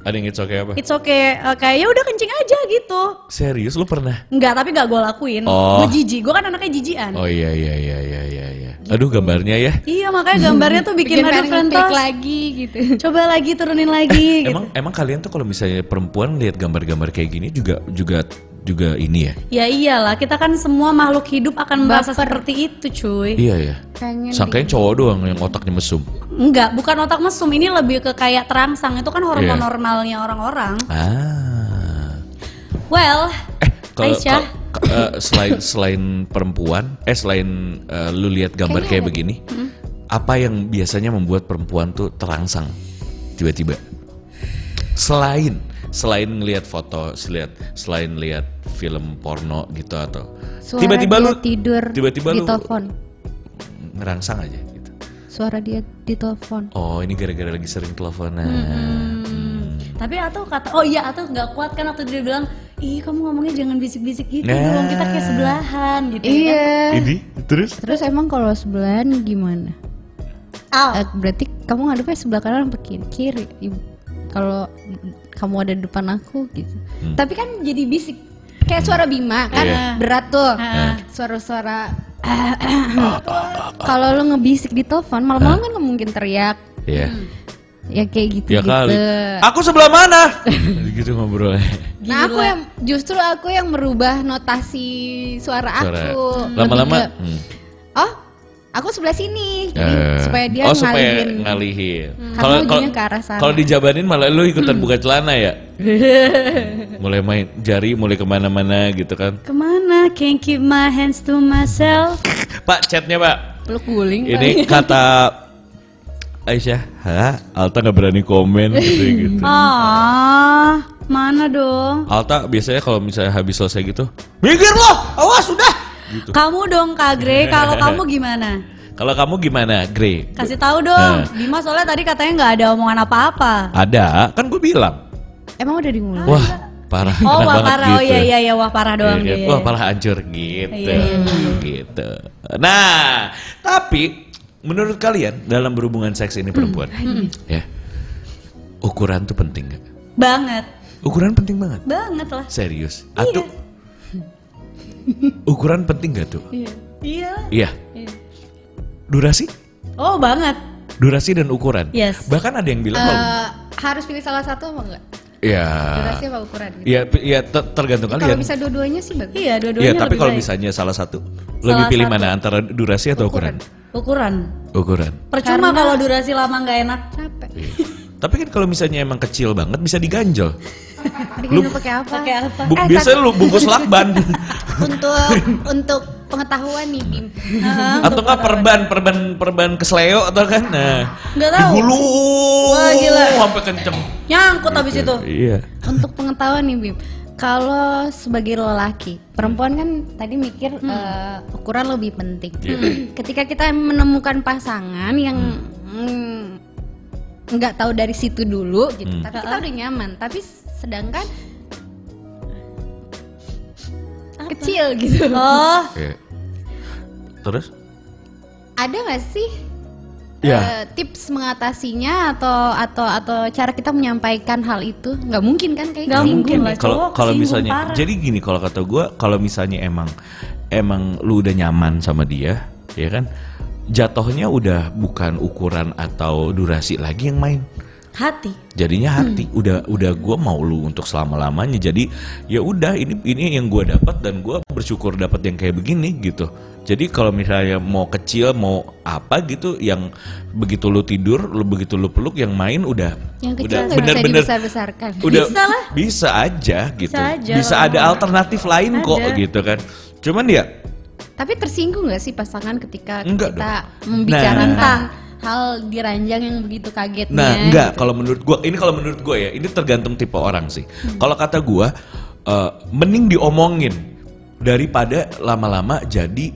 Speaker 2: Ada yang it's okay apa?
Speaker 1: It's okay eh, kayak ya udah kencing aja gitu.
Speaker 2: Serius lu pernah?
Speaker 1: Enggak, tapi enggak gue lakuin.
Speaker 2: Oh.
Speaker 1: Gue jijik, gue kan anaknya jijian.
Speaker 2: Oh iya iya iya iya iya iya. Aduh gambarnya ya.
Speaker 1: Iya, makanya gambarnya tuh bikin,
Speaker 3: bikin
Speaker 1: aduh
Speaker 3: panic attack
Speaker 1: Frentos.
Speaker 3: lagi gitu
Speaker 1: Coba lagi turunin lagi gitu.
Speaker 2: Emang emang kalian tuh kalau misalnya perempuan lihat gambar-gambar kayak gini juga juga juga ini ya?
Speaker 1: Ya iyalah, kita kan semua makhluk hidup akan merasa
Speaker 3: Baper.
Speaker 1: seperti itu, cuy.
Speaker 2: Iya ya.
Speaker 3: pengen
Speaker 2: Sangkain cowok doang yang otaknya mesum.
Speaker 1: Enggak, bukan otak mesum, ini lebih ke kayak terangsang. Itu kan
Speaker 2: Iya.
Speaker 1: hormon normalnya orang-orang.
Speaker 2: Ah.
Speaker 1: Well,
Speaker 2: Eh, kalau
Speaker 1: Aisyah.
Speaker 2: kalau- ke- eh, selain selain perempuan, eh selain eh, lu lihat gambar kayak begini,
Speaker 3: Hmm.
Speaker 2: apa yang biasanya membuat perempuan tuh terangsang tiba-tiba? Selain selain ngelihat foto, selain selain lihat film porno gitu atau
Speaker 3: Suara
Speaker 2: tiba-tiba
Speaker 3: dia
Speaker 2: lu
Speaker 3: tidur
Speaker 2: tiba-tiba
Speaker 3: di
Speaker 2: lu
Speaker 3: telepon.
Speaker 2: ngerangsang aja gitu.
Speaker 3: Suara dia di telepon.
Speaker 2: Oh, ini gara-gara lagi sering teleponan.
Speaker 1: hmm, Tapi atau kata oh iya atau nggak kuat kan waktu dia bilang ih kamu ngomongnya jangan bisik-bisik gitu
Speaker 2: Nah.
Speaker 1: dong kita kayak sebelahan gitu. ya
Speaker 3: Iya.
Speaker 2: Ini terus
Speaker 3: Terus emang kalau sebelahan gimana?
Speaker 1: Kan?
Speaker 3: Eh, berarti kamu ngadepnya sebelah kanan apa kiri? Kiri. Ibu. Kalau kamu ada di depan aku gitu. Tapi kan jadi bisik kayak suara Bima kan
Speaker 2: Hmm. Iya. Nah.
Speaker 3: berat tuh. Suara-suara
Speaker 2: Ah.
Speaker 3: kalau lu ngebisik di telepon malam-malam kan nggak mungkin teriak.
Speaker 2: ya.
Speaker 3: Ya kayak gitu
Speaker 2: Nah. Ya
Speaker 3: gitu.
Speaker 2: kali. Aku sebelah mana? gitu ngobrolnya.
Speaker 3: Nah aku yang justru aku yang merubah notasi suara,
Speaker 2: Suara.
Speaker 3: aku Lebih
Speaker 2: lama-lama
Speaker 3: ke,
Speaker 2: hmm.
Speaker 3: oh aku sebelah sini Jadi
Speaker 2: Eh,
Speaker 3: supaya dia
Speaker 2: oh, supaya
Speaker 3: ngalihin
Speaker 2: ngalihin.
Speaker 3: Karena ujungnya ke arah sana. Hmm.
Speaker 2: kalau dijabanin malah lu ikutan buka celana ya mulai main jari mulai kemana-mana gitu kan
Speaker 1: Kemana? Can't keep my hands to myself.
Speaker 2: pak chatnya pak
Speaker 3: peluk guling
Speaker 2: ini kata Aisyah Hah? Alta nggak berani komen gitu gitu
Speaker 1: Ah, mana dong?
Speaker 2: Alta biasanya kalau misalnya habis selesai gitu minggir lo awas sudah gitu
Speaker 1: Kamu dong Kak Grey, kalau kamu gimana?
Speaker 2: kalau kamu gimana Grey
Speaker 1: Kasih tahu dong.
Speaker 2: Nah.
Speaker 1: Bima soalnya tadi katanya nggak ada omongan apa-apa.
Speaker 2: ada kan gue bilang
Speaker 3: emang udah dimulai
Speaker 2: wah parah
Speaker 1: Oh,
Speaker 2: enak
Speaker 1: wah
Speaker 2: banget
Speaker 1: parah. Oh
Speaker 2: gitu.
Speaker 1: iya iya iya wah parah doang
Speaker 2: Iya,
Speaker 1: dia.
Speaker 2: Wah malah hancur gitu, gitu. Nah, tapi menurut kalian dalam berhubungan seks ini perempuan, ya ukuran tuh penting nggak?
Speaker 1: Banget.
Speaker 2: Ukuran penting banget,
Speaker 1: Banget lah.
Speaker 2: serius. Atau ukuran penting nggak tuh?
Speaker 1: Iya.
Speaker 2: Iya. Durasi,
Speaker 1: Oh, banget.
Speaker 2: durasi dan ukuran.
Speaker 1: Yes.
Speaker 2: Bahkan ada yang bilang kalau,
Speaker 3: Eh, harus pilih salah satu apa enggak
Speaker 2: ya,
Speaker 3: durasi apa ukuran gitu.
Speaker 2: ya, ya ter- tergantung
Speaker 3: kalau
Speaker 2: kalian.
Speaker 3: bisa dua-duanya sih bagus
Speaker 1: Iya, dua-duanya
Speaker 2: Iya, tapi
Speaker 1: lebih
Speaker 2: kalau
Speaker 1: baik.
Speaker 2: misalnya salah satu, lebih pilih mana antara durasi atau ukuran?
Speaker 1: ukuran.
Speaker 2: Ukuran.
Speaker 1: Percuma kalau durasi lama nggak enak.
Speaker 3: capek
Speaker 2: Tapi kan kalau misalnya emang kecil banget bisa diganjel.
Speaker 3: bikin pakai apa
Speaker 1: Pakai apa?
Speaker 2: Bu- biasanya lu bungkus lakban
Speaker 3: untuk untuk pengetahuan nih Bim
Speaker 2: atau enggak perban perban perban kesleo atau kan nah
Speaker 1: Nggak tahu.
Speaker 2: digulu
Speaker 1: Wah, gila.
Speaker 2: sampai kenceng
Speaker 1: Nyangkut habis itu.
Speaker 2: iya
Speaker 3: untuk pengetahuan nih Bim kalau sebagai lelaki perempuan kan tadi mikir
Speaker 1: Hmm.
Speaker 3: eh, ukuran lebih penting
Speaker 1: Iya.
Speaker 3: Hmm. ketika kita menemukan pasangan yang
Speaker 1: Hmm.
Speaker 3: mm, nggak tahu dari situ dulu gitu
Speaker 1: Hmm.
Speaker 3: tapi kita udah nyaman tapi sedangkan kecil gitu
Speaker 1: Oh,
Speaker 2: Iya. terus
Speaker 3: ada nggak sih
Speaker 2: Iya.
Speaker 1: Ya.
Speaker 3: eh, tips mengatasinya atau atau atau cara kita menyampaikan hal itu nggak mungkin kan kayak
Speaker 1: Nggak
Speaker 3: kesinggung.
Speaker 1: mungkin lah
Speaker 2: kalau
Speaker 1: cowok
Speaker 2: kalau
Speaker 1: kesinggung
Speaker 2: misalnya
Speaker 1: parah.
Speaker 2: jadi gini kalau kata gua kalau misalnya emang emang lu udah nyaman sama dia ya kan jatohnya udah bukan ukuran atau durasi lagi yang main
Speaker 1: hati.
Speaker 2: jadinya
Speaker 3: Hmm.
Speaker 2: hati udah udah gue mau lu untuk selama lamanya jadi ya udah ini ini yang gue dapat dan gue bersyukur dapat yang kayak begini gitu jadi kalau misalnya mau kecil mau apa gitu yang begitu lu tidur lu begitu lu peluk yang main udah
Speaker 3: yang
Speaker 2: udah
Speaker 3: kecil nggak bisa dibesar-besarkan
Speaker 2: udah
Speaker 1: Bisa lah.
Speaker 2: bisa aja gitu
Speaker 1: Bisa aja
Speaker 2: bisa ada alternatif lain kok gitu kan cuman ya
Speaker 3: Tapi tersinggung gak sih pasangan ketika
Speaker 2: Enggak
Speaker 3: kita
Speaker 2: dong.
Speaker 3: membicarakan
Speaker 1: Nah.
Speaker 3: hal di ranjang yang begitu kagetnya?
Speaker 2: Nah, enggak kalau menurut gua ini kalau menurut gua ya, ini tergantung tipe orang sih.
Speaker 3: Hmm.
Speaker 2: Kalau kata gua eh, mending diomongin daripada lama-lama jadi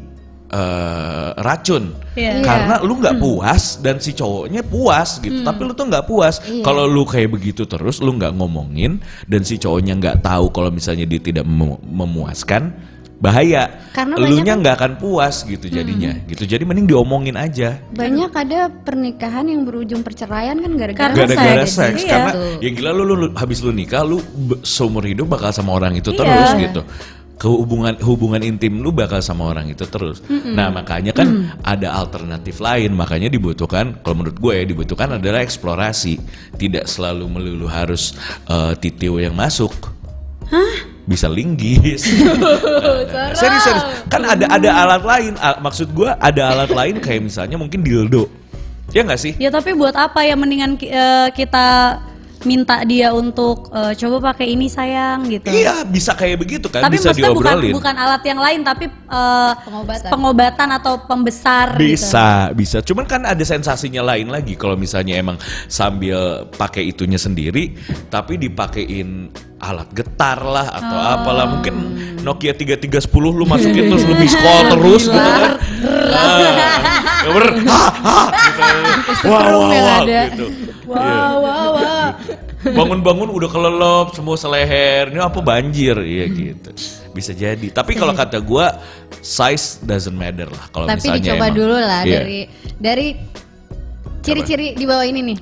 Speaker 2: eh, racun.
Speaker 1: Iya.
Speaker 2: Karena lu
Speaker 3: Hmm.
Speaker 2: nggak puas dan si cowoknya puas gitu, tapi lu tuh nggak puas.
Speaker 3: Iya.
Speaker 2: Kalau lu kayak begitu terus lu nggak ngomongin dan si cowoknya nggak tahu kalau misalnya dia tidak memu- memuaskan, bahaya.
Speaker 3: Karena banyak Hmm.
Speaker 2: Elunya nggak akan puas gitu jadinya. Gitu. Jadi mending diomongin aja.
Speaker 3: Banyak ada pernikahan yang berujung perceraian kan gara-gara
Speaker 1: Karena
Speaker 2: gara-gara
Speaker 1: seks.
Speaker 2: seks
Speaker 1: Iya.
Speaker 2: karena
Speaker 3: Tuh.
Speaker 2: ya gila lu, lu, lu- habis lu nikah lu be- seumur hidup bakal sama orang itu
Speaker 1: Iya.
Speaker 2: terus gitu kehubungan hubungan intim lu bakal sama orang itu terus nah makanya kan ada alternatif lain makanya dibutuhkan kalau menurut gue ya dibutuhkan adalah eksplorasi tidak selalu melulu harus eh, titio yang masuk bisa linggis serius serius kan ada ada alat lain Al- maksud gue ada alat lain kayak misalnya mungkin dildo ya nggak sih
Speaker 1: Ya tapi buat apa ya mendingan ki- eh, kita minta dia untuk eh, coba pakai ini sayang gitu.
Speaker 2: Iya, bisa kayak begitu kan,
Speaker 1: tapi
Speaker 2: bisa
Speaker 1: maksudnya bukan
Speaker 2: diobrolin.
Speaker 1: bukan gitu. alat yang lain tapi eh,
Speaker 3: Pengobatan.
Speaker 1: pengobatan atau pembesar gitu.
Speaker 2: Bisa, bisa. Cuman kan ada sensasinya lain lagi kalau misalnya emang sambil pakai itunya sendiri tapi dipakein alat getar lah atau
Speaker 1: Oh.
Speaker 2: apalah mungkin Nokia 3310 lu masukin terus lu miss call terus gitu kan. Ah, ya bener. Ah, ah, gitu. Wah, wah,
Speaker 3: setrum yang
Speaker 2: wah,
Speaker 3: ada.
Speaker 2: gitu. Iya. Bangun-bangun udah kelelep semua seleher. Ini apa banjir? Iya
Speaker 1: Hmm.
Speaker 2: gitu. Bisa jadi. Tapi kalau kata gua size doesn't matter lah kalau
Speaker 3: Tapi
Speaker 2: misalnya
Speaker 3: dicoba
Speaker 2: emang-
Speaker 3: dulu lah
Speaker 2: Iya.
Speaker 3: dari dari ciri-ciri di bawah ini nih.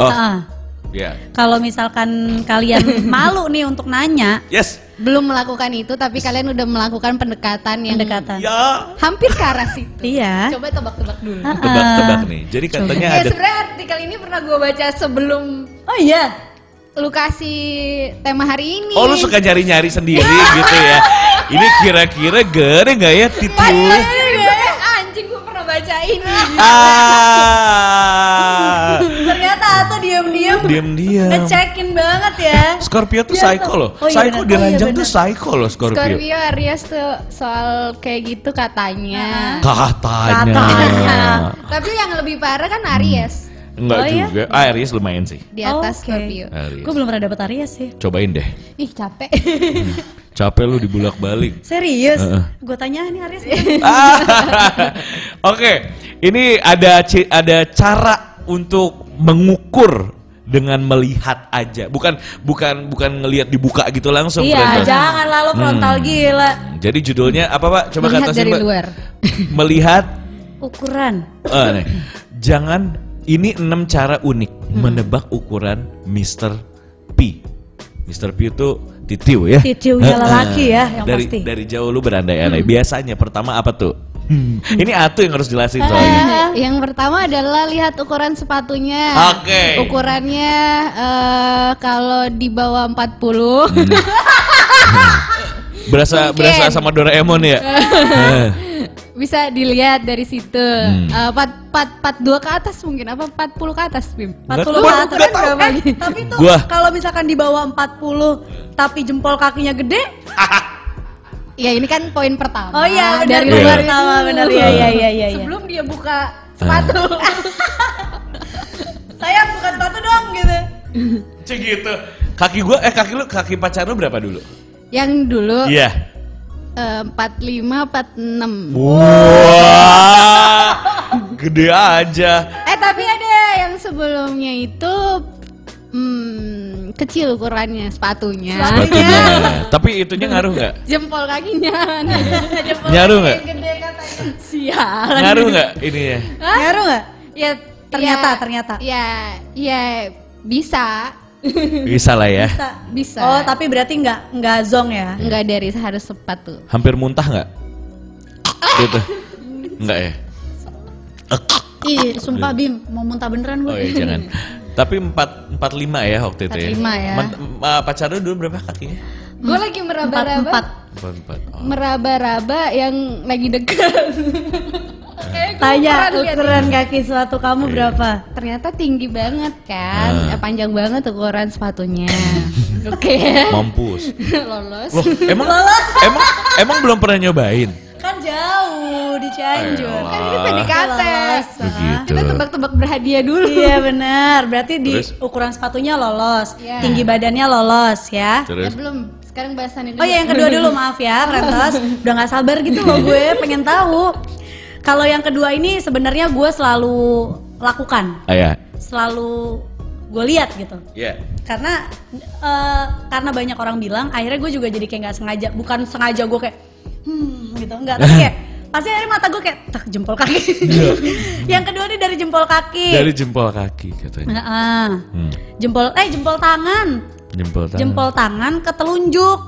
Speaker 2: Oh,
Speaker 1: Ah,
Speaker 2: iya.
Speaker 1: Kalau misalkan kalian malu nih untuk nanya
Speaker 2: Yes.
Speaker 3: Belum melakukan itu tapi kalian udah melakukan pendekatan yang
Speaker 1: pendekatan.
Speaker 2: Ya.
Speaker 3: hampir ke arah situ.
Speaker 1: Iya.
Speaker 3: Coba tebak-tebak dulu.
Speaker 2: Tebak-tebak nih. Jadi katanya
Speaker 3: Ya
Speaker 2: Iya, ada
Speaker 3: sebenarnya artikel ini pernah gue baca sebelum
Speaker 1: Oh iya.
Speaker 3: lu kasih tema hari ini.
Speaker 2: Oh lu suka nyari-nyari sendiri gitu ya. Ini kira-kira gede nggak ya titul?
Speaker 3: Wah, iya, anjing gue pernah baca ini.
Speaker 2: Ah.
Speaker 1: Ternyata aku diam-diam
Speaker 2: Diam-diam.
Speaker 1: ngecekin banget ya.
Speaker 2: Scorpio tuh
Speaker 1: Iya,
Speaker 2: psycho
Speaker 1: tuh.
Speaker 2: loh.
Speaker 1: Oh, iya
Speaker 2: Psycho
Speaker 1: benar.
Speaker 2: di
Speaker 1: Oh, iya
Speaker 2: ranjang tuh
Speaker 1: benar.
Speaker 2: psycho loh Scorpio.
Speaker 3: Scorpio Aries tuh soal kayak gitu
Speaker 2: Ah.
Speaker 3: katanya.
Speaker 2: Katanya.
Speaker 1: Katanya.
Speaker 3: Tapi yang lebih parah kan Aries
Speaker 2: Enggak
Speaker 1: Oh, iya?
Speaker 2: juga. Ah, Aries lumayan sih.
Speaker 3: di atas
Speaker 1: Oke.
Speaker 3: Scorpio.
Speaker 2: Aries.
Speaker 1: Gue belum pernah dapet Aries sih.
Speaker 2: Cobain deh.
Speaker 3: Ih capek.
Speaker 2: Capek lu dibulak-balik.
Speaker 1: Serius?
Speaker 2: Heeh.
Speaker 1: Gue tanya nih Aries.
Speaker 2: Ah. Oke, ini ada ci- ada cara untuk mengukur dengan melihat aja. Bukan bukan bukan ngelihat dibuka gitu langsung. Hmm.
Speaker 1: iya,
Speaker 2: Brenda.
Speaker 1: jangan lalu frontal gila.
Speaker 2: Jadi judulnya apa Pak? Coba
Speaker 3: Melihat
Speaker 2: kata
Speaker 3: dari
Speaker 2: Mbak.
Speaker 3: luar.
Speaker 2: Melihat
Speaker 1: Ukuran.
Speaker 2: eh, nih. jangan ini enam cara unik
Speaker 1: Hmm.
Speaker 2: menebak ukuran Mr. P. Mr. P itu titiu ya.
Speaker 1: Titiunya
Speaker 2: Heeh.
Speaker 1: lelaki ya, yang
Speaker 2: dari,
Speaker 1: pasti.
Speaker 2: Dari jauh lu berandai-andai. Biasanya pertama apa tuh? Hmm. Ini Atu yang harus jelasin
Speaker 3: Eh,
Speaker 2: soalnya.
Speaker 3: Yang pertama adalah lihat ukuran sepatunya.
Speaker 2: Oke.
Speaker 3: Ukurannya eh, kalau di bawah 40
Speaker 2: Hmm. Berasa
Speaker 3: Mungkin.
Speaker 2: berasa sama Doraemon ya. Eh,
Speaker 3: bisa dilihat dari situ.
Speaker 2: Hmm.
Speaker 3: Eh, pat, pat, pat dua ke atas mungkin apa 40 ke atas gitu. Bim?
Speaker 2: Nggak
Speaker 1: 40
Speaker 2: tahu,
Speaker 1: satu
Speaker 2: nggak
Speaker 1: kan
Speaker 2: tahu.
Speaker 1: berapa Eh, tapi tuh
Speaker 2: Gua.
Speaker 1: kalau misalkan di bawah 40 tapi jempol kakinya gede.
Speaker 3: Ya ini kan poin pertama.
Speaker 1: Oh iya, benar,
Speaker 3: dari
Speaker 1: poin
Speaker 3: luar
Speaker 1: pertama,
Speaker 3: dulu.
Speaker 1: benar. Iya, iya, iya, iya, iya.
Speaker 3: Sebelum dia buka sepatu.
Speaker 1: Sayang bukan sepatu dong gitu.
Speaker 2: Cek gitu. Kaki gua eh kaki lu kaki pacar lu berapa dulu?
Speaker 3: Yang dulu
Speaker 2: Iya.
Speaker 3: eh, 45 46.
Speaker 2: Wah. Gede aja.
Speaker 3: Eh tapi ada yang sebelumnya itu hmm, kecil ukurannya sepatunya.
Speaker 2: Batunya. Tapi itunya ngaruh nggak?
Speaker 3: Jempol kakinya. Jempol
Speaker 2: Nyaru nggak?
Speaker 3: gede katanya. Sial.
Speaker 2: Ngaruh nggak ininya?
Speaker 1: Ngaruh nggak?
Speaker 3: Ya
Speaker 1: Ternyata,
Speaker 3: ya-
Speaker 1: ternyata.
Speaker 3: Ya,
Speaker 1: iya,
Speaker 3: ya bisa.
Speaker 2: Bisa lah ya.
Speaker 3: bisa.
Speaker 1: Oh, tapi berarti nggak nggak zong ya?
Speaker 3: Enggak dari harus sepatu.
Speaker 2: Hampir muntah nggak? Gitu. Enggak ya.
Speaker 1: Ih, sumpah Bim, mau muntah beneran
Speaker 2: Oh
Speaker 1: gue.
Speaker 2: iya jangan. Tapi 4 45 ya waktu itu ya.
Speaker 3: 45 ya.
Speaker 2: Mat- m- ah, Pacar lu dulu berapa kakinya?
Speaker 3: Gue lagi
Speaker 1: Empat
Speaker 3: meraba-raba.
Speaker 1: empat.
Speaker 2: 44. Oh.
Speaker 3: meraba-raba yang lagi dekat. Eh, gua
Speaker 1: Tanya
Speaker 3: ukuran liat.
Speaker 1: ukuran kaki sepatu
Speaker 2: Iya.
Speaker 1: kamu berapa?
Speaker 3: Ternyata tinggi banget kan,
Speaker 1: Ah.
Speaker 3: Eh, panjang banget ukuran sepatunya. Oke,
Speaker 2: Mampus.
Speaker 3: lolos.
Speaker 2: Loh, emang emang emang belum pernah nyobain.
Speaker 1: Kan jauh. jauh di Cianjur.
Speaker 2: Ayolah.
Speaker 3: Kan Ini PDKT.
Speaker 1: Lolos.
Speaker 2: Begitu.
Speaker 3: Kita tebak-tebak berhadiah dulu.
Speaker 1: Ah. Iya benar. Berarti di
Speaker 2: Terus?
Speaker 1: ukuran sepatunya lolos,
Speaker 3: Iya.
Speaker 1: tinggi badannya lolos ya.
Speaker 3: Eh,
Speaker 2: Terus
Speaker 3: belum. Sekarang bahasannya dulu.
Speaker 1: Oh ya yang kedua dulu maaf ya Frantos Udah gak sabar gitu loh gue pengen tahu Kalau yang kedua ini sebenarnya gue selalu lakukan
Speaker 2: Ayah.
Speaker 1: Selalu gue lihat gitu
Speaker 2: Iya.
Speaker 1: karena eh, karena banyak orang bilang akhirnya gue juga jadi kayak nggak sengaja bukan sengaja gue kayak hmm gitu nggak tapi kayak pasti akhirnya mata gue kayak tak jempol kaki yang kedua ini dari jempol kaki
Speaker 2: Dari jempol kaki katanya.
Speaker 1: Heeh.
Speaker 2: Hmm.
Speaker 1: jempol eh jempol tangan
Speaker 2: Jempol tangan.
Speaker 1: jempol tangan ke telunjuk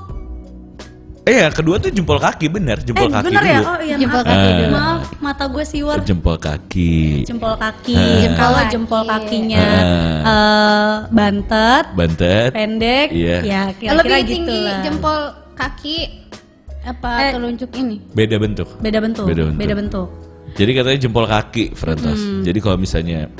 Speaker 2: Eh, ya, kedua tuh jempol kaki bener, jempol
Speaker 1: eh
Speaker 2: kaki
Speaker 1: bener
Speaker 2: dulu.
Speaker 1: ya oh iya
Speaker 3: Jempol
Speaker 1: maaf
Speaker 2: kaki dulu.
Speaker 1: maaf mata gue siwar
Speaker 2: Jempol kaki.
Speaker 1: jempol kaki
Speaker 2: Eh.
Speaker 1: kalau
Speaker 3: Kaki.
Speaker 1: jempol kakinya
Speaker 2: Eh.
Speaker 1: eh, bantet
Speaker 2: Bantet.
Speaker 1: pendek
Speaker 2: Iya.
Speaker 1: ya kira-kira
Speaker 3: Lebih
Speaker 1: gitu
Speaker 3: tinggi
Speaker 1: lah.
Speaker 3: jempol kaki apa
Speaker 1: Eh.
Speaker 3: telunjuk ini?
Speaker 2: Beda bentuk.
Speaker 1: beda bentuk
Speaker 2: Beda bentuk.
Speaker 1: beda bentuk
Speaker 2: Jadi katanya jempol kaki Frantos.
Speaker 3: Hmm.
Speaker 2: Jadi kalau misalnya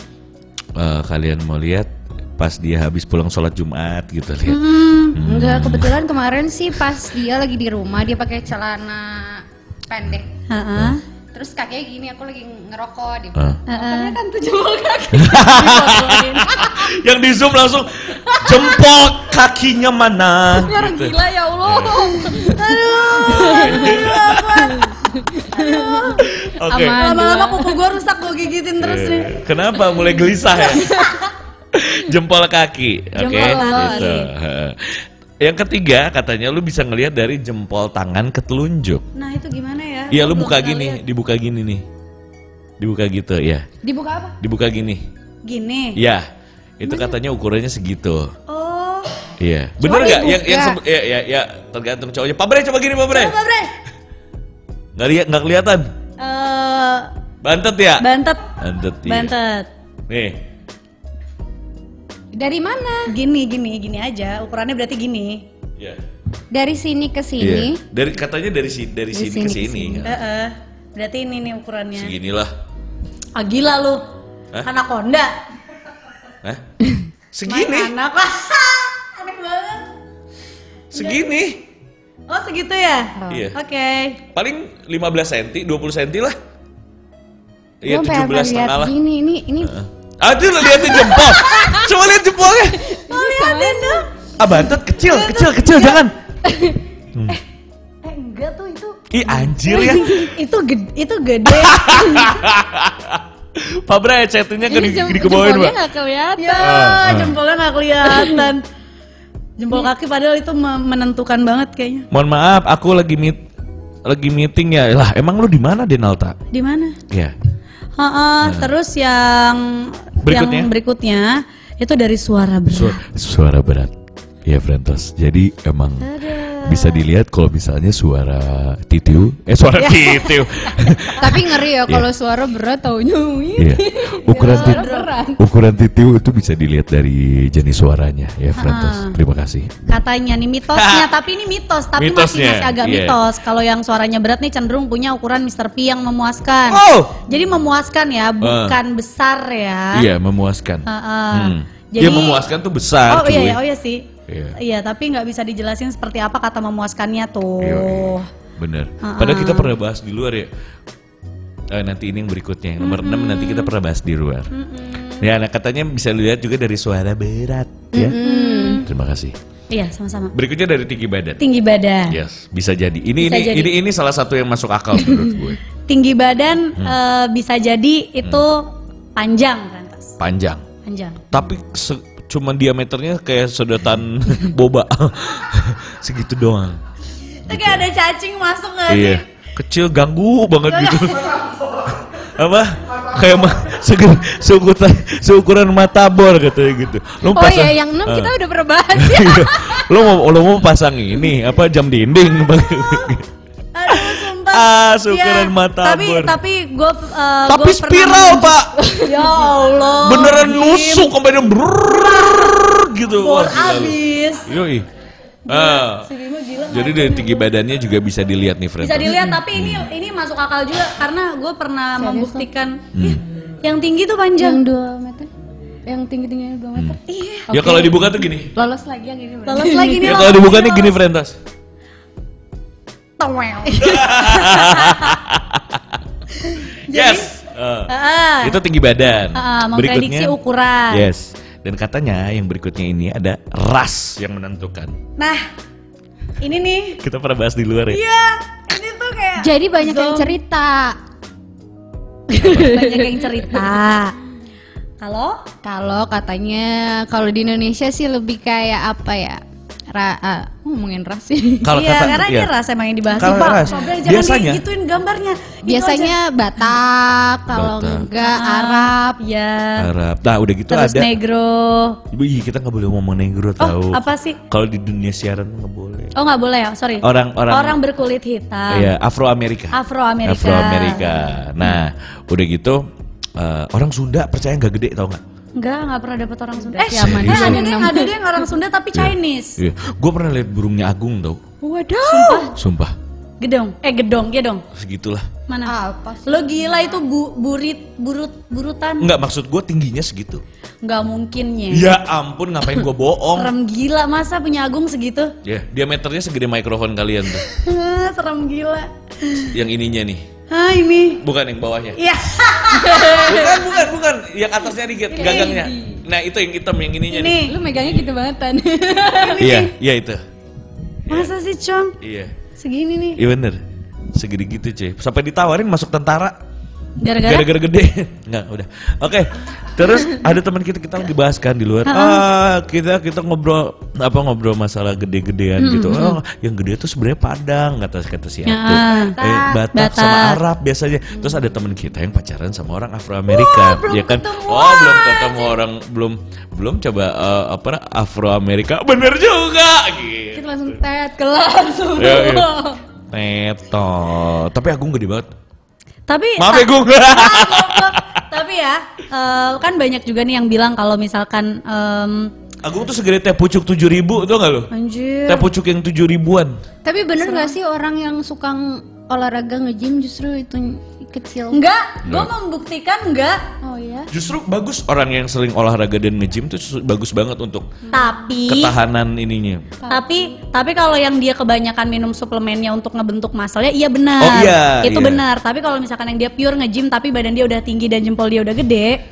Speaker 2: eh, kalian mau lihat pas dia habis pulang sholat Jumat gitu lihat.
Speaker 1: Hmm.
Speaker 3: Enggak, kebetulan kemarin sih pas dia lagi di rumah dia pakai celana pendek.
Speaker 1: Heeh.
Speaker 3: Terus kakinya gini, aku lagi ngerokok di
Speaker 2: Ah.
Speaker 3: Makanya kan tuh jempol kaki.
Speaker 2: Yang di zoom langsung jempol kakinya mana?
Speaker 3: Orang
Speaker 2: Gitu. Eh.
Speaker 3: gila ya Allah.
Speaker 2: Oke.
Speaker 3: Aman.
Speaker 1: Lama-lama kuku gue rusak gue gigitin terus nih.
Speaker 2: Eh, Kenapa mulai gelisah ya? jempol kaki, oke.
Speaker 1: Jempol kaki.
Speaker 2: gitu. Heeh. Yang ketiga katanya lu bisa ngelihat dari jempol tangan ke telunjuk.
Speaker 1: Nah itu gimana ya?
Speaker 2: Iya lu
Speaker 1: Gua
Speaker 2: buka
Speaker 1: belum pernah
Speaker 2: gini, dibuka gini nih. Dibuka gitu ya.
Speaker 3: Dibuka apa?
Speaker 2: Dibuka gini.
Speaker 1: liat. Gini.
Speaker 2: Ya. Itu katanya ukurannya segitu.
Speaker 1: Oh,
Speaker 2: Iya. Bener
Speaker 3: Cowok
Speaker 2: nggak?
Speaker 3: dibuka.
Speaker 2: Yang yang sebe- ya, ya ya tergantung cowoknya. Pak Bre coba gini Pak Bre.
Speaker 1: apa bre?
Speaker 2: Nggak lihat nggak kelihatan.
Speaker 1: Eh,
Speaker 2: Bantet ya.
Speaker 1: bantet,
Speaker 2: Bantet. iya.
Speaker 1: bantet.
Speaker 2: Nih.
Speaker 3: Dari mana?
Speaker 1: Gini, gini, gini aja. Ukurannya berarti gini.
Speaker 2: Iya.
Speaker 3: Dari sini ke
Speaker 2: Iya.
Speaker 3: sini.
Speaker 2: Dari katanya dari si dari, sini,
Speaker 3: sini
Speaker 2: ke
Speaker 3: ke
Speaker 2: sini.
Speaker 1: Heeh. Berarti ini nih ukurannya.
Speaker 2: Seginilah.
Speaker 1: Ah gila lu.
Speaker 2: Hah?
Speaker 1: Anak Honda.
Speaker 2: Hah?
Speaker 1: Main
Speaker 2: Segini.
Speaker 1: Anak lah. Aneh banget.
Speaker 2: Segini.
Speaker 1: Oh segitu ya?
Speaker 2: Iya.
Speaker 1: Oke.
Speaker 2: Paling 15 cm, 20 cm lah. Iya,
Speaker 3: Gua pengen
Speaker 2: 17 setengah
Speaker 3: lihat
Speaker 2: lah.
Speaker 3: Gini, ini ini
Speaker 2: Ah, itu lo liatin jempol. Coba lihat jempolnya.
Speaker 1: Oh liatin dong.
Speaker 2: Ah, bantet kecil, kecil, kecil,
Speaker 3: Iya.
Speaker 2: jangan.
Speaker 1: Eh enggak tuh itu.
Speaker 2: Ih, anjir ya.
Speaker 1: Oh, iya. itu gede, itu gede.
Speaker 2: Pak Bre, chattingnya gede
Speaker 3: jem-
Speaker 2: gede ke bawain,
Speaker 3: jempolnya
Speaker 2: Pak.
Speaker 3: nggak kelihatan.
Speaker 2: Ah,
Speaker 1: ya, jempolnya nggak kelihatan. Jempol kaki padahal itu me- menentukan banget kayaknya.
Speaker 2: Mohon maaf, aku lagi meet lagi meeting ya. Lah, emang lu di mana, Denalta?
Speaker 1: Di mana?
Speaker 2: Ya.
Speaker 1: Ha-ha, terus yang
Speaker 2: Nah. Berikutnya?
Speaker 1: yang berikutnya itu dari suara berat.
Speaker 2: Suara, suara berat. Ya, Frentos. Jadi emang bisa dilihat kalau misalnya suara titiu, eh suara
Speaker 3: Iya.
Speaker 2: titiu.
Speaker 3: Tapi ngeri ya kalau suara berat taunya. wih,
Speaker 2: Iya. Ukuran
Speaker 3: Suara
Speaker 2: titiu,
Speaker 3: berat.
Speaker 2: ukuran titiu itu bisa dilihat dari jenis suaranya ya, Frentos.
Speaker 3: Ah.
Speaker 2: Terima kasih.
Speaker 1: Katanya nih mitosnya, tapi ini mitos, tapi masih
Speaker 2: Mitosnya,
Speaker 1: masih agak
Speaker 2: iya.
Speaker 1: mitos. Kalau yang suaranya berat nih cenderung punya ukuran Mr. P yang memuaskan.
Speaker 3: Ah.
Speaker 2: Oh.
Speaker 1: Jadi memuaskan ya, bukan besar ya.
Speaker 2: Iya, memuaskan.
Speaker 1: Ha-ha.
Speaker 2: Hmm.
Speaker 1: Ah, Jadi
Speaker 2: ya memuaskan tuh besar,
Speaker 1: Oh iya,
Speaker 2: cuy.
Speaker 1: iya, oh iya sih.
Speaker 2: Iya.
Speaker 1: Iya, tapi nggak bisa dijelasin seperti apa kata memuaskannya tuh.
Speaker 2: Yoi. Iya, Bener.
Speaker 1: Ah,
Speaker 2: Padahal kita pernah bahas di luar ya. Eh, nanti ini yang berikutnya yang nomor 6 nanti kita pernah bahas di luar. Ya, nah katanya bisa lihat juga dari suara berat ya. Terima kasih.
Speaker 1: Iya, sama-sama.
Speaker 2: Berikutnya dari tinggi badan.
Speaker 1: Tinggi badan.
Speaker 2: Yes, bisa jadi. Ini
Speaker 1: Bisa
Speaker 2: ini
Speaker 1: jadi.
Speaker 2: ini ini salah satu yang masuk akal menurut gue.
Speaker 1: Tinggi badan
Speaker 2: Hmm.
Speaker 1: eh, bisa jadi itu panjang kan, Tas?
Speaker 2: Panjang.
Speaker 1: Panjang.
Speaker 2: Tapi se- cuman diameternya kayak sedotan boba. Segitu doang.
Speaker 1: Itu kayak ada cacing masuk nggak sih?
Speaker 2: Iya. Kecil ganggu banget gitu.
Speaker 1: Iya.
Speaker 2: Apa? Kayak mah seukur- seukuran, seukuran matabor katanya gitu. Lo
Speaker 3: Oh
Speaker 2: pasang, Ah,
Speaker 3: iya, yang 6 kita udah berbahas ya.
Speaker 2: Iya. lo mau lo mau pasang ini apa jam dinding
Speaker 1: Aduh, sumpah. Iya.
Speaker 2: Ah, syukuran mata
Speaker 1: Tapi
Speaker 2: bor.
Speaker 1: tapi eh, gue
Speaker 2: Tapi spiral, Pak.
Speaker 1: Ya Allah.
Speaker 2: Beneran
Speaker 1: Jim.
Speaker 2: nusuk sampai dia brrrr gitu. Wah,
Speaker 1: Bor
Speaker 2: gila lu.
Speaker 1: abis.
Speaker 2: Yoi. Ah.
Speaker 1: Si Bimo gila
Speaker 2: Jadi dari tinggi badannya juga bisa dilihat nih Fred.
Speaker 1: bisa dilihat tapi ini
Speaker 2: Hmm.
Speaker 1: ini masuk akal juga karena gue pernah membuktikan Ih,
Speaker 2: Hmm.
Speaker 1: yang tinggi tuh
Speaker 3: Yang
Speaker 1: panjang
Speaker 3: 2 meter. Yang tinggi-tingginya 2 meter.
Speaker 1: iya
Speaker 2: Ya kalau dibuka tuh gini.
Speaker 3: Lolos lagi yang ini. berarti.
Speaker 1: lolos lagi nih
Speaker 2: Ya
Speaker 1: lolos,
Speaker 2: kalau dibuka
Speaker 1: ini
Speaker 2: nih gini
Speaker 1: lolos.
Speaker 3: Iya.
Speaker 2: Frentas.
Speaker 1: Towel. Jadi,
Speaker 2: yes. Eh,
Speaker 1: Heeh.
Speaker 2: Itu tinggi badan.
Speaker 1: Heeh, memprediksi ukuran.
Speaker 2: Yes. Dan katanya yang berikutnya ini ada ras yang menentukan.
Speaker 1: Nah, ini nih.
Speaker 2: Kita pernah bahas di luar ya.
Speaker 1: Iya, ini tuh kayak
Speaker 3: Jadi banyak yang
Speaker 1: Zom-
Speaker 3: cerita.
Speaker 1: banyak yang cerita. Kalau
Speaker 3: Kalau katanya kalau di Indonesia sih lebih kayak apa ya? Ra, ah, ngomongin ras sih.
Speaker 2: Kalau
Speaker 1: iya,
Speaker 2: kata
Speaker 1: karena
Speaker 2: iya.
Speaker 1: ini ras emang yang dibahas.
Speaker 2: Kalau
Speaker 1: Pak,
Speaker 2: ras,
Speaker 1: Sobri, jangan
Speaker 2: biasanya-
Speaker 1: digituin gambarnya. Gitu aja.
Speaker 3: Biasanya Batak, kalau
Speaker 2: Batak.
Speaker 3: enggak Arab.
Speaker 1: ya.
Speaker 2: Arab. Nah, udah gitu
Speaker 1: Terus
Speaker 2: ada.
Speaker 1: negro.
Speaker 2: Wih, kita nggak boleh ngomong negro
Speaker 1: Oh,
Speaker 2: tahu.
Speaker 1: apa sih?
Speaker 2: Kalau di dunia siaran nggak boleh.
Speaker 1: Oh, nggak boleh ya, sorry.
Speaker 2: Orang-orang-
Speaker 1: orang berkulit hitam.
Speaker 2: Iya, Afro Amerika.
Speaker 1: Afro Amerika.
Speaker 2: Afro Amerika. Nah,
Speaker 1: Hmm.
Speaker 2: udah gitu eh, orang Sunda percaya nggak gede tau nggak?
Speaker 1: Enggak, enggak pernah dapet orang Sunda. Eh,
Speaker 3: Serius?
Speaker 1: eh, ada deh, ada deh yang orang Sunda tapi Chinese.
Speaker 2: Iya. Gue pernah lihat burungnya Agung tau.
Speaker 1: Waduh. Sumpah.
Speaker 2: Sumpah,
Speaker 1: Gedong. Eh, gedong, ya dong.
Speaker 2: segitulah.
Speaker 1: Mana?
Speaker 3: Ah, Apa sih?
Speaker 1: Lo gila itu bu- burit burut burutan.
Speaker 2: Nggak maksud gue tingginya segitu.
Speaker 1: Enggak mungkinnya.
Speaker 2: Ya ampun, ngapain gue bohong?
Speaker 1: Serem gila masa punya Agung segitu?
Speaker 2: Ya, diameternya segede mikrofon kalian tuh.
Speaker 1: Hah, Serem gila.
Speaker 2: Yang ininya nih,
Speaker 1: Hah, ini.
Speaker 2: bukan yang bawahnya.
Speaker 1: Iya.
Speaker 2: Bukan, bukan, bukan. Yang atasnya dikit, gagangnya. Nah, itu yang hitam, yang ininya nih.
Speaker 1: Ini.
Speaker 3: Lu megangnya gitu banget Tan.
Speaker 2: Iya, iya itu.
Speaker 1: Masa sih, Cong?
Speaker 2: Iya.
Speaker 1: Segini nih.
Speaker 2: Iya bener. Segede gitu, cuy. Sampai ditawarin masuk tentara.
Speaker 1: Gara-gara
Speaker 2: Gara-gara gede. Enggak, udah. Oke. Terus ada teman kita kita lagi bahas kan di luar. Ah, kita kita ngobrol apa ngobrol masalah gede-gedean gitu. Oh, yang gede tuh sebenarnya Padang kata kata si Atu.
Speaker 1: Ah,
Speaker 2: Eh, Batak, sama
Speaker 1: Batak.
Speaker 2: Arab biasanya. Terus ada teman kita yang pacaran sama orang Afro Amerika, ya kan? Oh, belum ketemu orang belum belum coba eh, apa Afro Amerika. Bener juga gitu.
Speaker 3: Kita langsung tet kelar semua.
Speaker 2: Ya, ya. Neto. Tapi Agung gede banget.
Speaker 1: tapi
Speaker 2: Maaf ya, Gung.
Speaker 1: tapi ya eh, kan banyak juga nih yang bilang kalau misalkan em,
Speaker 2: Agung tuh segede teh pucuk 7000 ribu tuh gak lo?
Speaker 1: anjir
Speaker 2: Teh pucuk yang 7000 ribuan
Speaker 3: Tapi bener nggak sih orang yang suka ng- olahraga nge-gym justru itu kecil?
Speaker 1: Enggak,
Speaker 2: Nah.
Speaker 1: gue membuktikan enggak.
Speaker 3: Oh
Speaker 1: iya?
Speaker 3: ya.
Speaker 2: Justru bagus orang yang sering olahraga dan nge-gym tuh su- bagus banget untuk
Speaker 1: Tapi,
Speaker 2: ketahanan ininya
Speaker 1: tapi, tapi kalau yang dia kebanyakan minum suplemennya untuk ngebentuk muscle-nya, iya benar.
Speaker 2: Oh, iya,
Speaker 1: Itu
Speaker 2: iya.
Speaker 1: benar. Tapi kalau misalkan yang dia pure nge-gym tapi badan dia udah tinggi dan jempol dia udah gede,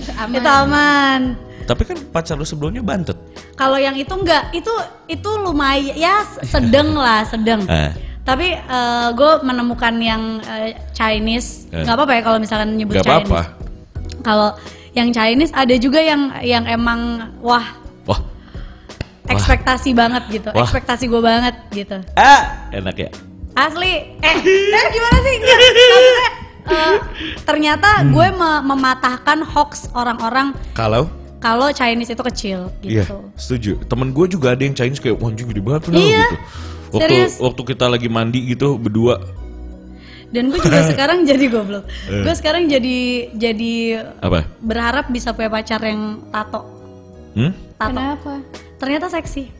Speaker 1: itu aman.
Speaker 2: Tapi kan pacar lu sebelumnya bantet
Speaker 1: Kalau yang itu enggak, itu itu lumayan ya sedang lah, sedang.
Speaker 2: Ah.
Speaker 1: Tapi gue menemukan yang eh, Chinese,
Speaker 2: Eh.
Speaker 1: nggak apa-apa ya kalau misalkan nyebut
Speaker 2: Gak
Speaker 1: Chinese.
Speaker 2: apa-apa
Speaker 1: Kalau yang Chinese ada juga yang yang emang wah
Speaker 2: Wah
Speaker 1: ekspektasi banget gitu,
Speaker 2: Wah.
Speaker 1: ekspektasi gue banget gitu.
Speaker 2: ah, Enak ya
Speaker 1: Asli, eh, eh, gimana sih? Enggak, maksudnya, eh, ternyata
Speaker 2: Hmm.
Speaker 1: gue me- mematahkan hoax orang-orang
Speaker 2: Kalau
Speaker 1: kalau Chinese itu kecil
Speaker 2: Iya
Speaker 1: gitu.
Speaker 2: setuju Temen gue juga ada yang Chinese kayak "Wah, anjing gede banget lu,"
Speaker 1: Iya,
Speaker 2: gitu Waktu,
Speaker 1: serius.
Speaker 2: waktu kita lagi mandi gitu berdua
Speaker 1: Dan gue juga sekarang jadi goblok.
Speaker 2: Eh.
Speaker 1: Gue sekarang jadi jadi
Speaker 2: Apa? ya?
Speaker 1: berharap bisa punya pacar yang tato.
Speaker 2: Hmm?
Speaker 1: Tato.
Speaker 3: Kenapa?
Speaker 1: Ternyata seksi.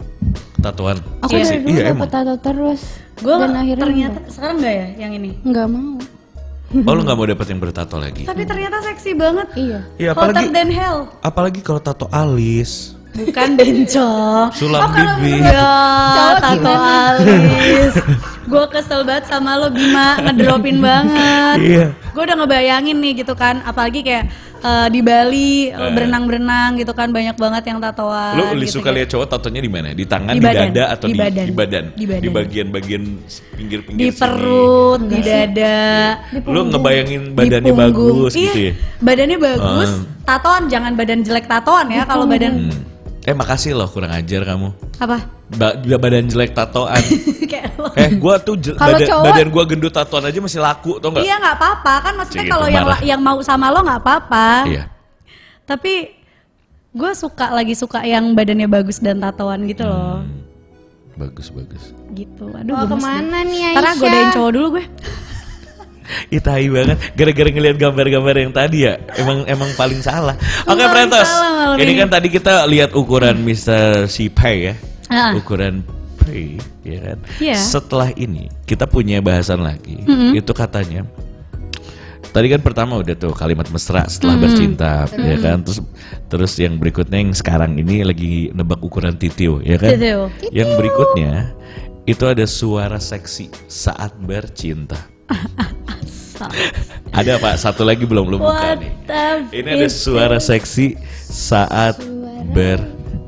Speaker 2: Tatuan
Speaker 3: Aku
Speaker 2: Iya
Speaker 3: dari
Speaker 2: sih,
Speaker 3: dulu
Speaker 2: iya
Speaker 3: dapet
Speaker 2: emang
Speaker 3: tato terus.
Speaker 1: Gue
Speaker 3: Dan akhirnya
Speaker 1: ternyata sekarang enggak ya yang ini.
Speaker 3: nggak mau.
Speaker 2: Oh lu gak mau dapet yang bertato lagi?
Speaker 1: Tapi ternyata seksi banget.
Speaker 3: Hmm. Iya.
Speaker 2: Iya
Speaker 1: Hotter
Speaker 2: apalagi
Speaker 1: than hell.
Speaker 2: Apalagi kalau tato alis
Speaker 1: Bukan bencong.
Speaker 2: Sulam bibi.
Speaker 1: Ya, tato alis. Gue kesel banget sama lo Bima, ngedropin banget.
Speaker 2: Iya.
Speaker 1: Gue udah ngebayangin nih gitu kan, apalagi kayak eh, di Bali eh, berenang-berenang gitu kan banyak banget yang tatoan.
Speaker 2: Lu li-
Speaker 1: gitu
Speaker 2: suka
Speaker 1: kan.
Speaker 2: lihat cowok tatonya di mana? Di tangan,
Speaker 1: Di
Speaker 2: di,
Speaker 1: badan.
Speaker 2: dada atau
Speaker 1: Di
Speaker 2: di,
Speaker 1: badan.
Speaker 2: di badan?
Speaker 1: Di badan.
Speaker 2: bagian-bagian s- pinggir-pinggir
Speaker 1: di
Speaker 2: sini.
Speaker 1: perut, di dada,
Speaker 2: Lu ngebayangin badannya
Speaker 1: di punggung.
Speaker 2: bagus
Speaker 1: Iya,
Speaker 2: gitu ya. Ah.
Speaker 1: Badannya bagus, tatoan jangan badan jelek tatoan ya kalau badan
Speaker 2: Hmm. Eh makasih loh kurang ajar kamu.
Speaker 1: apa?
Speaker 2: Ba- juga badan jelek tatoan.
Speaker 1: kayak lo.
Speaker 2: eh gua tuh je-
Speaker 3: Kalau
Speaker 2: badan,
Speaker 3: cowok-
Speaker 2: badan gua gendut tatoan aja masih laku tau enggak?
Speaker 1: Iya nggak apa-apa kan maksudnya
Speaker 2: Cik,
Speaker 1: kalau yang
Speaker 2: marah. Iya.
Speaker 1: yang mau sama lo nggak apa-apa. Tapi gue suka lagi suka yang badannya bagus dan tatoan gitu loh.
Speaker 2: Hmm. Bagus bagus.
Speaker 1: Gitu. Aduh,
Speaker 3: Mau
Speaker 1: gemes deh.
Speaker 3: kemana nih Aisyah?
Speaker 1: Ntar ah, godain cowok dulu gue.
Speaker 2: Ih tai banget gara-gara ngelihat gambar-gambar yang tadi ya. Emang emang paling salah. Oke,
Speaker 1: Paling
Speaker 2: Pretos.
Speaker 1: salah malam
Speaker 2: Ini
Speaker 1: ini. Hmm.
Speaker 2: kan tadi kita lihat ukuran Mr. Si Pai ya.
Speaker 1: Ah.
Speaker 2: Ukuran Pai, ya kan.
Speaker 1: Iya. Hmm.
Speaker 2: Setelah ini kita punya bahasan lagi. Itu katanya Tadi kan pertama udah tuh kalimat mesra
Speaker 1: Hmm.
Speaker 2: setelah bercinta, ya kan. Terus terus yang berikutnya yang sekarang ini lagi nebak ukuran titiu, ya kan.
Speaker 1: Titiu.
Speaker 2: Yang berikutnya itu ada suara seksi saat bercinta.
Speaker 3: stop.
Speaker 1: Iya.
Speaker 2: Ada Pak, satu lagi belum belum buka
Speaker 1: What
Speaker 2: nih.
Speaker 1: the
Speaker 2: Ini ada
Speaker 1: fuck?
Speaker 2: suara seksi saat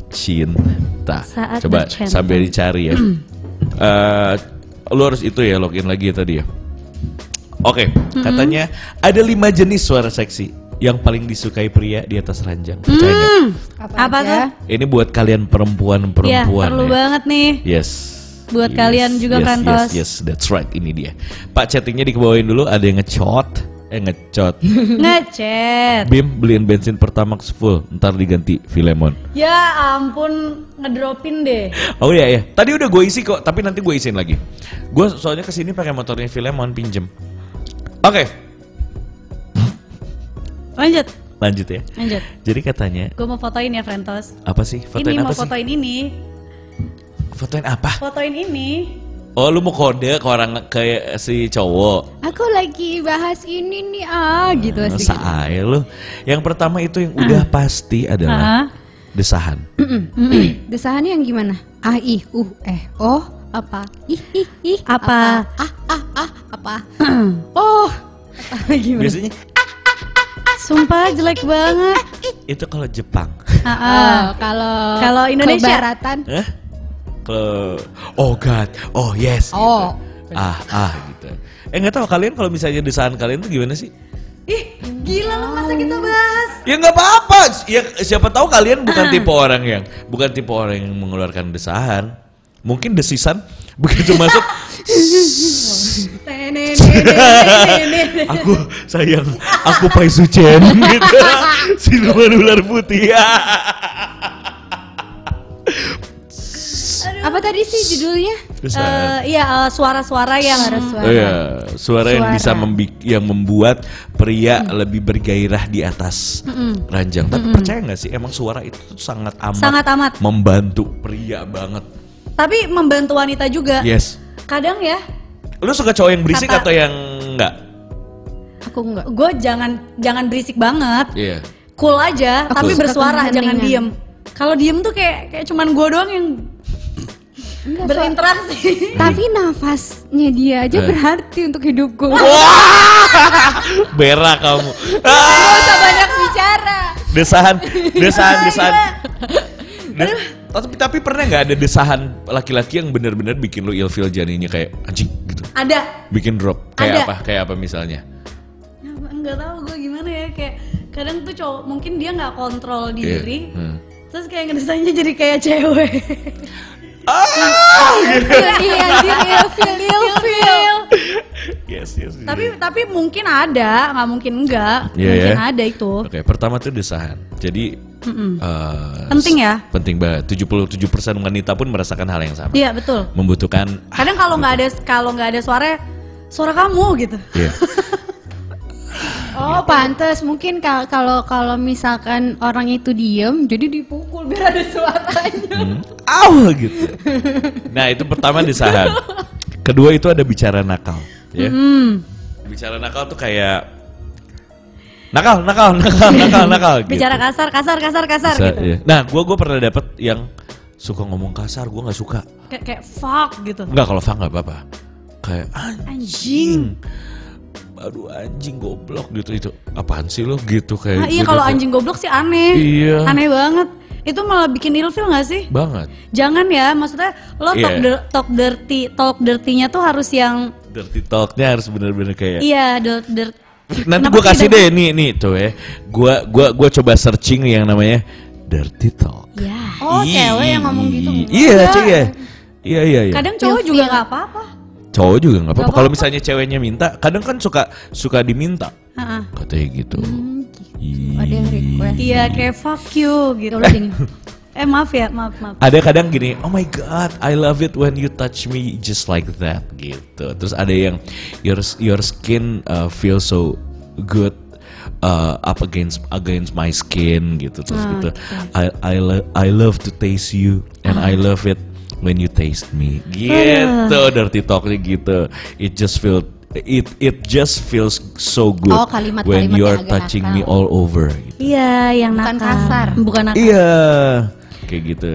Speaker 2: bercinta.
Speaker 1: Saat
Speaker 2: Coba
Speaker 1: bercinta. Hmm.
Speaker 2: sambil dicari ya. Eh lu harus itu ya login lagi ya tadi ya. Oke,
Speaker 1: Hmm.
Speaker 2: katanya ada lima jenis suara seksi yang paling disukai pria di atas ranjang. Percaya nggak?
Speaker 1: Apa,
Speaker 3: aja?
Speaker 1: tuh?
Speaker 2: Ini buat kalian
Speaker 1: Hmm. Iya,
Speaker 2: perempuan-perempuan
Speaker 1: perlu
Speaker 2: ya.
Speaker 1: banget nih.
Speaker 2: Yes.
Speaker 1: Buat kalian
Speaker 2: yes,
Speaker 1: juga, Prantos.
Speaker 2: Yes, yes, that's right. Ini dia. Pak chattingnya dikebawain dulu. Ada yang ngecot, eh ngecot.
Speaker 1: Ngechat.
Speaker 2: Bim beliin bensin Pertamax full, ntar diganti Filemon.
Speaker 1: Ya ampun, ngedropin deh.
Speaker 2: Oh iya ya, tadi udah gue isi kok, tapi nanti gue isiin lagi. Gue soalnya kesini pakai motornya Filemon pinjem. Oke,
Speaker 1: Lanjut,
Speaker 2: lanjut ya.
Speaker 1: lanjut.
Speaker 2: Jadi katanya
Speaker 1: Gue mau fotoin ya, Frentos.
Speaker 2: apa sih? Fotoin
Speaker 1: ini
Speaker 2: apa
Speaker 1: mau
Speaker 2: sih?
Speaker 1: fotoin ini,
Speaker 2: Fotoin apa?
Speaker 1: fotoin ini.
Speaker 2: Oh lu mau kode ke orang kayak si cowok.
Speaker 3: Aku lagi bahas ini nih ah gitu sih.
Speaker 2: Saai lu. Yang pertama itu yang udah pasti
Speaker 1: Ah.
Speaker 2: adalah desahan.
Speaker 3: Desahannya yang gimana? Ah ih uh eh oh apa? Ih ih ih
Speaker 1: Apa?
Speaker 3: Ah ah ah apa? oh apa gimana?
Speaker 2: Biasanya
Speaker 1: Sumpah jelek banget.
Speaker 2: itu kalau Jepang.
Speaker 1: Ah, ah.
Speaker 3: Oh, kalau
Speaker 1: Kalau Indonesia?
Speaker 3: kebaratan.
Speaker 2: Hah? Kalau oh god, oh yes. gitu.
Speaker 3: Oh.
Speaker 2: Ah ah gitu. Eh nggak tahu kalian kalau misalnya desahan kalian tuh gimana sih?
Speaker 1: Ih, gila lu masa kita bahas.
Speaker 2: Ya nggak apa-apa. Ya siapa tahu kalian bukan tipe orang yang bukan tipe orang yang mengeluarkan desahan. Mungkin desisan begitu masuk aku sayang aku Pai Sucen gitu. Siluman ular putih.
Speaker 3: Apa tadi sih judulnya?
Speaker 2: Desahan.
Speaker 1: Eh, iya, eh, suara-suara yang
Speaker 3: Suara-suara.
Speaker 2: Oh iya, suara yang
Speaker 3: Suara.
Speaker 2: bisa membi- yang membuat pria lebih bergairah di atas ranjang. Tapi percaya nggak sih emang suara itu tuh sangat amat
Speaker 1: sangat amat.
Speaker 2: membantu pria banget.
Speaker 1: Tapi membantu wanita juga.
Speaker 2: Yes.
Speaker 1: Kadang ya,
Speaker 2: Lu suka cowok yang berisik atau
Speaker 1: Kata-
Speaker 2: yang enggak?
Speaker 3: Aku enggak.
Speaker 1: gue jangan jangan berisik banet.
Speaker 2: Iya.
Speaker 1: Cool aja,
Speaker 3: Aku
Speaker 1: tapi
Speaker 3: suka
Speaker 1: bersuara, jangan
Speaker 3: keheningan.
Speaker 1: diem. Kalau diem tuh kayak kayak cuman gue doang yang
Speaker 3: Iya, Enggak, so-
Speaker 1: berinteraksi.
Speaker 3: Tapi nafasnya dia aja
Speaker 2: Eh.
Speaker 3: berarti untuk hidupku.
Speaker 2: Berak kamu.
Speaker 1: Gak
Speaker 2: Ah,
Speaker 1: usah banyak bicara.
Speaker 2: desahan, desahan, desahan. Des- tapi, tapi pernah nggak ada desahan laki-laki yang benar-benar bikin lu ilfil janinya kayak anjing gitu,
Speaker 1: Ada.
Speaker 2: bikin drop kayak
Speaker 1: Ada.
Speaker 2: apa? Kayak apa misalnya?
Speaker 1: Enggak Ya, tahu gue gimana ya kayak kadang tuh cowok mungkin dia nggak kontrol
Speaker 2: Iya.
Speaker 1: diri.
Speaker 2: Hmm.
Speaker 1: Terus kayak ngedesainnya jadi kayak cewek.
Speaker 3: Iya, dia ilfil, ilfil.
Speaker 2: Yes, yes. yes.
Speaker 1: tapi tapi mungkin ada, nggak mungkin enggak.
Speaker 2: Iya,
Speaker 1: mungkin
Speaker 2: ya.
Speaker 1: ada itu.
Speaker 2: Oke, pertama tuh desahan. Jadi eh,
Speaker 1: Penting ya?
Speaker 2: Penting banget. 77% wanita pun merasakan hal yang sama.
Speaker 1: Iya, betul.
Speaker 2: Membutuhkan
Speaker 1: Kadang kalau nggak ada kalau nggak ada suara suara kamu gitu.
Speaker 2: Iya.
Speaker 3: Oh, pantas mungkin kal- kalau kalau misalkan orang itu diem jadi dipukul biar ada suaranya.
Speaker 2: Hmm. Au gitu. Nah, itu pertama desahan. Kedua itu ada bicara nakal, ya.
Speaker 1: Hmm.
Speaker 2: Bicara nakal tuh kayak nakal, nakal, nakal, nakal, nakal gitu.
Speaker 1: Bicara kasar, kasar, kasar, kasar
Speaker 2: Bisa,
Speaker 1: gitu.
Speaker 2: iya. Nah, gua gua pernah dapet yang suka ngomong kasar, gua nggak suka.
Speaker 1: Kayak kayak fuck gitu.
Speaker 2: Enggak kalau fang nggak apa-apa. Kayak anjing. Aduh anjing goblok gitu itu. Apaan sih lo gitu kayak.
Speaker 1: Nah, iya
Speaker 2: gitu.
Speaker 1: kalau anjing goblok sih aneh.
Speaker 2: Iya.
Speaker 1: Aneh banget. Itu malah bikin ilfil gak sih?
Speaker 2: banget.
Speaker 1: Jangan ya, maksudnya lo talk,
Speaker 2: Iya.
Speaker 1: dir- talk dirty, talk dirty-nya tuh harus yang
Speaker 2: Dirty talknya harus bener-bener kayak.
Speaker 1: iya dir- dir-
Speaker 2: Nanti
Speaker 1: Kenapa
Speaker 2: gue
Speaker 1: sih
Speaker 2: kasih
Speaker 1: dia-
Speaker 2: deh nih nih tuh ya. Gua gua gua coba searching yang namanya dirty talk.
Speaker 1: Iya.
Speaker 3: Oh, cewek yang ngomong gitu.
Speaker 2: Ih, Iya, cewek. ya. Iya iya iya.
Speaker 1: Kadang cowok
Speaker 3: Ilfil.
Speaker 1: juga nggak apa-apa.
Speaker 2: Cowok juga nggak apa-apa. Kalau misalnya ceweknya minta, kadang kan suka suka diminta.
Speaker 1: Ha-ha.
Speaker 2: Katanya gitu. Ih.
Speaker 3: Ada yang request.
Speaker 1: Iya kayak fuck you gitu. eh maaf ya, maaf maaf.
Speaker 2: ada kadang gini, oh my god, I love it when you touch me just like that gitu. Terus ada yang your your skin uh, feels so good uh, up against against my skin gitu. Terus
Speaker 3: Ah,
Speaker 2: gitu, I I lo- I love to taste you and I
Speaker 3: Ah.
Speaker 2: love it when you taste me. Gitu, dirty talknya gitu. It just feel it it just feels so good
Speaker 3: Oh, kalimat-
Speaker 2: when you are
Speaker 3: kalimatnya agak
Speaker 2: touching me all
Speaker 3: nakal.
Speaker 2: over. Gitu.
Speaker 1: Iya, yang
Speaker 3: Bukan
Speaker 1: nakal.
Speaker 3: kasar.
Speaker 1: Bukan nakal.
Speaker 2: Iya. Kayak gitu.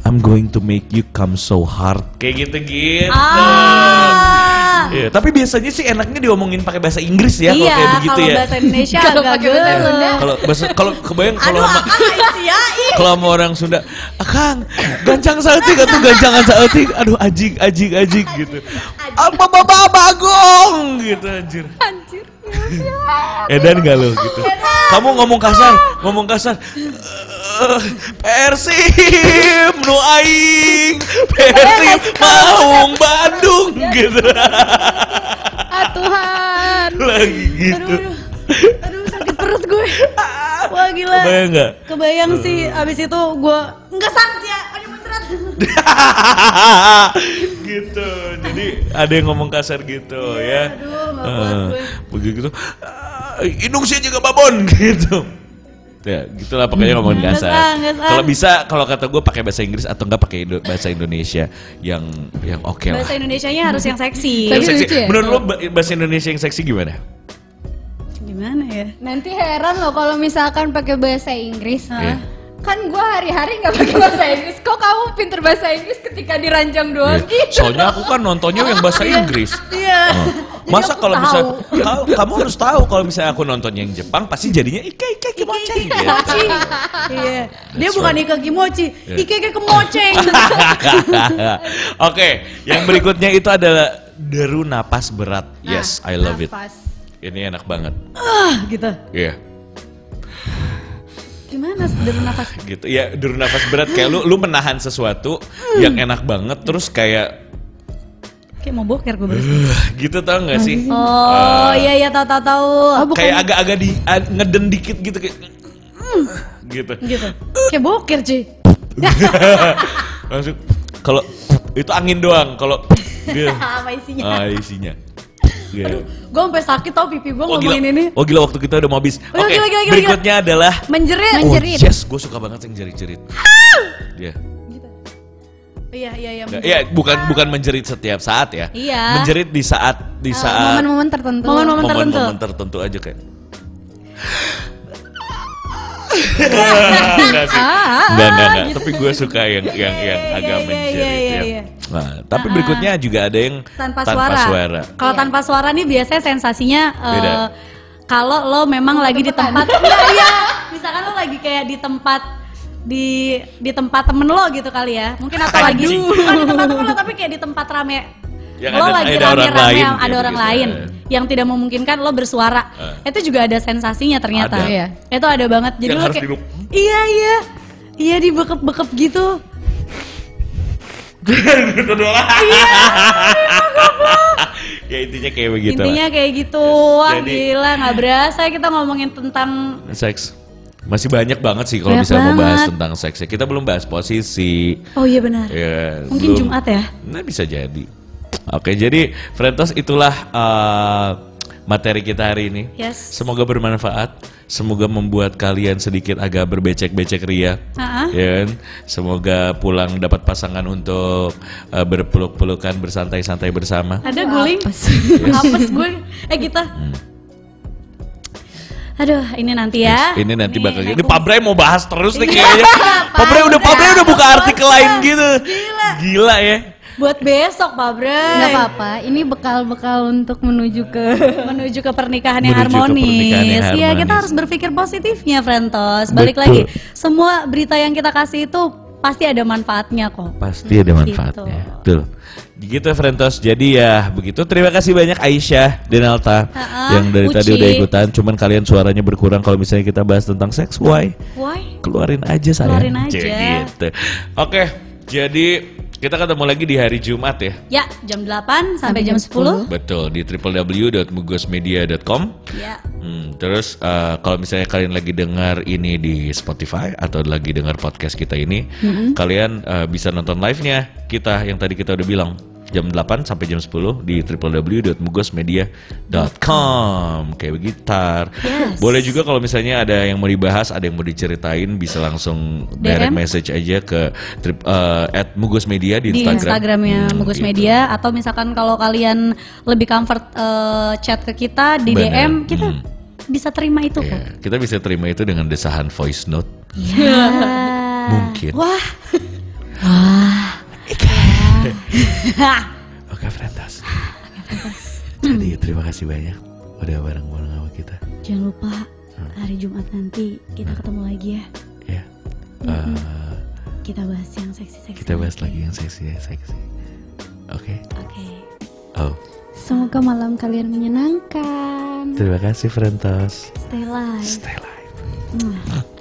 Speaker 2: I'm going to make you come so hard. Kayak gitu-gitu.
Speaker 1: Ah,
Speaker 2: gitu, Iya, tapi biasanya sih enaknya diomongin pakai bahasa Inggris ya kalau
Speaker 1: iya,
Speaker 2: kayak begitu
Speaker 1: kalau
Speaker 2: ya.
Speaker 1: bahasa Indonesia agak
Speaker 3: Kalau
Speaker 1: Ah,
Speaker 3: pakai bahasa Sunda.
Speaker 1: gelap.
Speaker 2: Kalau bahasa kalau kebayang kalau
Speaker 1: Aduh,
Speaker 2: sama
Speaker 1: akang isiain.
Speaker 2: kalau sama orang Sunda, "Akang, gancang saeutik atuh gancangan saeutik." Aduh, ajik ajik ajik gitu. Apa baba bagong gitu anjir.
Speaker 3: Anjir.
Speaker 2: Edan gak lo gitu. Kamu ngomong kasar, ngomong kasar. Eh, Persib, nu aing, Persib, Maung, Bandung gitu
Speaker 3: Ah Tuhan.
Speaker 2: lagi gitu.
Speaker 1: Aduh, aduh, aduh sakit perut gue. Wah gila.
Speaker 2: Kebayang Hmm. nggak?
Speaker 1: Kebayang sih abis itu gue nggak sant ya. Aduh beneran.
Speaker 2: gitu. Jadi ada yang ngomong kasar gitu ya.
Speaker 1: Iya, Aduh, nggak kuat
Speaker 2: Eh,
Speaker 1: gue.
Speaker 2: begitu. "Ah, Hidung saya juga babon gitu. Ya, gitulah pokoknya ngomongin
Speaker 1: Nggak
Speaker 2: kasar.
Speaker 1: usah, nggak usah.
Speaker 2: Kalau bisa, kalau kata gue pakai bahasa Inggris atau enggak pakai Indo- bahasa Indonesia yang yang oke lah.
Speaker 1: Bahasa Indonesianya harus yang seksi.
Speaker 2: Yang
Speaker 3: Tapi
Speaker 2: seksi.
Speaker 3: lucu ya?
Speaker 2: Menurut lo ba- bahasa Indonesia yang seksi gimana?
Speaker 1: Gimana ya?
Speaker 3: Nanti heran loh kalau misalkan pakai bahasa Inggris.
Speaker 2: Iya.
Speaker 3: Kan gua hari-hari nggak pakai bahasa Inggris. Kok kamu pinter bahasa Inggris ketika diranjang doang
Speaker 2: Iya.
Speaker 3: gitu?
Speaker 2: Soalnya aku kan nontonnya yang bahasa Inggris.
Speaker 1: Iya.
Speaker 2: Oh. Masa kalau bisa tahu kamu harus tahu kalau misalnya aku nonton yang Jepang pasti jadinya ike ike kimochi gitu.
Speaker 1: Kimochi. Iya. Dia
Speaker 2: That's
Speaker 1: bukan
Speaker 2: right.
Speaker 1: Ika Kimochi,
Speaker 2: Iya.
Speaker 1: Ike ke kemoceng.
Speaker 2: Oke, yang berikutnya itu adalah deru napas berat. Yes, I love it.
Speaker 3: Nafas.
Speaker 2: Ini enak banget.
Speaker 1: Ah, gitu.
Speaker 2: Iya.
Speaker 1: Gimana sederhana nafas?
Speaker 2: Gitu. Ya, deru napas berat kayak lu lu menahan sesuatu yang
Speaker 1: Hmm.
Speaker 2: enak banget terus kayak
Speaker 1: Kayak mau boker gue baru.
Speaker 2: "Ugh," gitu tau gak sih? Ah.
Speaker 1: Oh, iya iya tahu tahu tahu.
Speaker 2: Kayak agak-agak di a- ngeden dikit gitu kayak
Speaker 1: Hmm.
Speaker 2: gitu.
Speaker 1: Gitu. Kayak boker, cuy.
Speaker 2: Langsung kalau itu angin doang kalau dia
Speaker 1: Apa isinya?
Speaker 2: ah, isinya. Iya.
Speaker 1: Gue sampai sakit tau pipi gue
Speaker 2: Oh gila.
Speaker 1: ngomongin ini.
Speaker 2: Oh gila waktu kita udah mau habis.
Speaker 1: Oh,
Speaker 2: Oke,
Speaker 1: gila, gila, gila,
Speaker 2: berikutnya adalah
Speaker 1: Menjerit.
Speaker 2: Oh
Speaker 3: Menjerit.
Speaker 2: yes, gue suka banget yang jerit-jerit. Iya.
Speaker 1: Iya iya iya.
Speaker 2: Nggak, Ya, bukan bukan menjerit setiap saat ya.
Speaker 1: Iya. Eh,
Speaker 2: Menjerit di saat di saat
Speaker 3: Eh, Momen-momen tertentu.
Speaker 1: Momen-momen tertentu.
Speaker 2: momen-momen tertentu aja kayak. Enggak sih. Enggak, enggak, enggak. Tapi gue suka yang yang yang
Speaker 1: Ah, gitu. Iya,
Speaker 2: agak
Speaker 1: iya, iya,
Speaker 2: menjerit
Speaker 1: iya,
Speaker 2: ya.
Speaker 1: iya.
Speaker 2: Nah, tapi berikutnya juga ada yang
Speaker 1: tanpa, suara. Kalau tanpa suara nih biasanya sensasinya eh,
Speaker 2: Beda.
Speaker 1: kalau lo memang lagi di tempat Iya, iya. Misalkan lo lagi kayak di tempat di di tempat temen lo gitu kali ya. Mungkin atau lagi
Speaker 2: Anjing.
Speaker 1: bukan di tempat temen lo tapi kayak di tempat rame.
Speaker 2: Yang
Speaker 1: lo
Speaker 2: ada-
Speaker 1: lagi
Speaker 2: ada orang
Speaker 1: rame-rame
Speaker 2: lain,
Speaker 1: yang ada
Speaker 2: gitu,
Speaker 1: orang
Speaker 2: gitu.
Speaker 1: lain yang tidak memungkinkan lo bersuara. Itu juga ada sensasinya ternyata.
Speaker 2: Ada.
Speaker 3: Iya.
Speaker 1: Itu ada banget. Jadi
Speaker 2: Yang
Speaker 1: lo
Speaker 2: harus
Speaker 1: kayak
Speaker 2: diluk-
Speaker 1: Iya, iya. Iya dibekep-bekep gitu.
Speaker 2: Gitu doang.
Speaker 1: Iya.
Speaker 2: Ya intinya kayak begitu. lah.
Speaker 1: Intinya kayak gitu. Wah,
Speaker 2: Jadi-
Speaker 1: gila nggak berasa kita ngomongin tentang
Speaker 2: seks masih banyak banget sih kalau
Speaker 1: Banyak
Speaker 2: bisa mau bahas
Speaker 1: banget.
Speaker 2: tentang seks ya. kita belum bahas posisi
Speaker 1: Oh iya benar.
Speaker 2: ya
Speaker 1: Mungkin
Speaker 2: belum.
Speaker 1: Jumat ya.
Speaker 2: nah bisa jadi oke jadi Frentos itulah eh, materi kita hari ini
Speaker 1: Yes.
Speaker 2: semoga bermanfaat semoga membuat kalian sedikit agak berbecek-becek ria
Speaker 1: Ah, ah.
Speaker 2: Ya kan? Semoga pulang dapat pasangan untuk eh, berpeluk-pelukan bersantai-santai bersama.
Speaker 1: Ada guling.
Speaker 3: Apes.
Speaker 1: Apes gue. Eh kita. Aduh, ini nanti ya. Iya.
Speaker 2: Ini nanti bakal ini
Speaker 1: aku-
Speaker 2: Pabre mau bahas terus nih kayaknya. Pabre udah Pabre udah buka artikel lain gitu. Gila. ya.
Speaker 1: buat besok, Pak Bre.
Speaker 3: Nggak apa-apa. Ini bekal-bekal untuk menuju ke
Speaker 1: Menuju ke pernikahan yang
Speaker 2: Menuju ke pernikahan
Speaker 1: harmonis.
Speaker 2: yang
Speaker 1: Iya, kita
Speaker 2: harmonis.
Speaker 1: harus berpikir positifnya, Frentos. Balik
Speaker 2: Betul.
Speaker 1: lagi, semua berita yang kita kasih itu pasti ada manfaatnya kok.
Speaker 2: Pasti ada
Speaker 1: Gitu.
Speaker 2: manfaatnya. Betul. Gitu Frentos. Jadi ya begitu. Terima kasih banyak Aisyah dan Alta
Speaker 1: Ha-ha,
Speaker 2: yang dari tadi
Speaker 1: Uci.
Speaker 2: udah ikutan. Cuman kalian suaranya berkurang kalau misalnya kita bahas tentang seks. Why?
Speaker 1: Why?
Speaker 2: Keluarin aja saya.
Speaker 1: Keluarin aja.
Speaker 2: Gitu. Oke. Jadi kita ketemu lagi di hari Jumat ya.
Speaker 1: Ya, jam 8 sampai jam
Speaker 3: jam
Speaker 1: 10.
Speaker 2: Betul di www.mugosmedia.com.
Speaker 1: Ya.
Speaker 2: Hmm, terus eh, kalau misalnya kalian lagi dengar ini di Spotify atau lagi dengar podcast kita ini, kalian eh, bisa nonton live-nya kita yang tadi kita udah bilang jam 8 sampai jam 10 di www.mugosmedia.com kayak begitu.
Speaker 1: Yes.
Speaker 2: Boleh juga kalau misalnya ada yang mau dibahas, ada yang mau diceritain bisa langsung direct
Speaker 1: DM.
Speaker 2: message aja ke trip, eh, at @mugosmedia di
Speaker 1: di ya,
Speaker 2: Instagram.
Speaker 1: Instagramnya
Speaker 2: Hmm,
Speaker 1: Mugus
Speaker 2: gitu.
Speaker 1: Media atau misalkan kalau kalian lebih comfort eh, chat ke kita di
Speaker 2: Bener.
Speaker 1: DM kita
Speaker 2: Hmm.
Speaker 1: bisa terima itu kok.
Speaker 2: Iya, kita bisa terima itu dengan desahan voice note
Speaker 1: Iya.
Speaker 2: mungkin.
Speaker 1: Wah. Wah.
Speaker 2: Oke, Frentas. Jadi terima kasih banyak udah bareng-bareng sama kita.
Speaker 1: Jangan lupa hari Jumat nanti kita ketemu lagi ya.
Speaker 2: Ya. Eh,
Speaker 1: Kita bahas yang seksi-seksi.
Speaker 2: kita bahas lagi yang seksi ya, seksi. Oke.
Speaker 1: Oke.
Speaker 2: Oh,
Speaker 3: Semoga malam kalian menyenangkan.
Speaker 2: terima kasih Frentos.
Speaker 1: Stay live.
Speaker 2: Stay live.
Speaker 1: Mwah.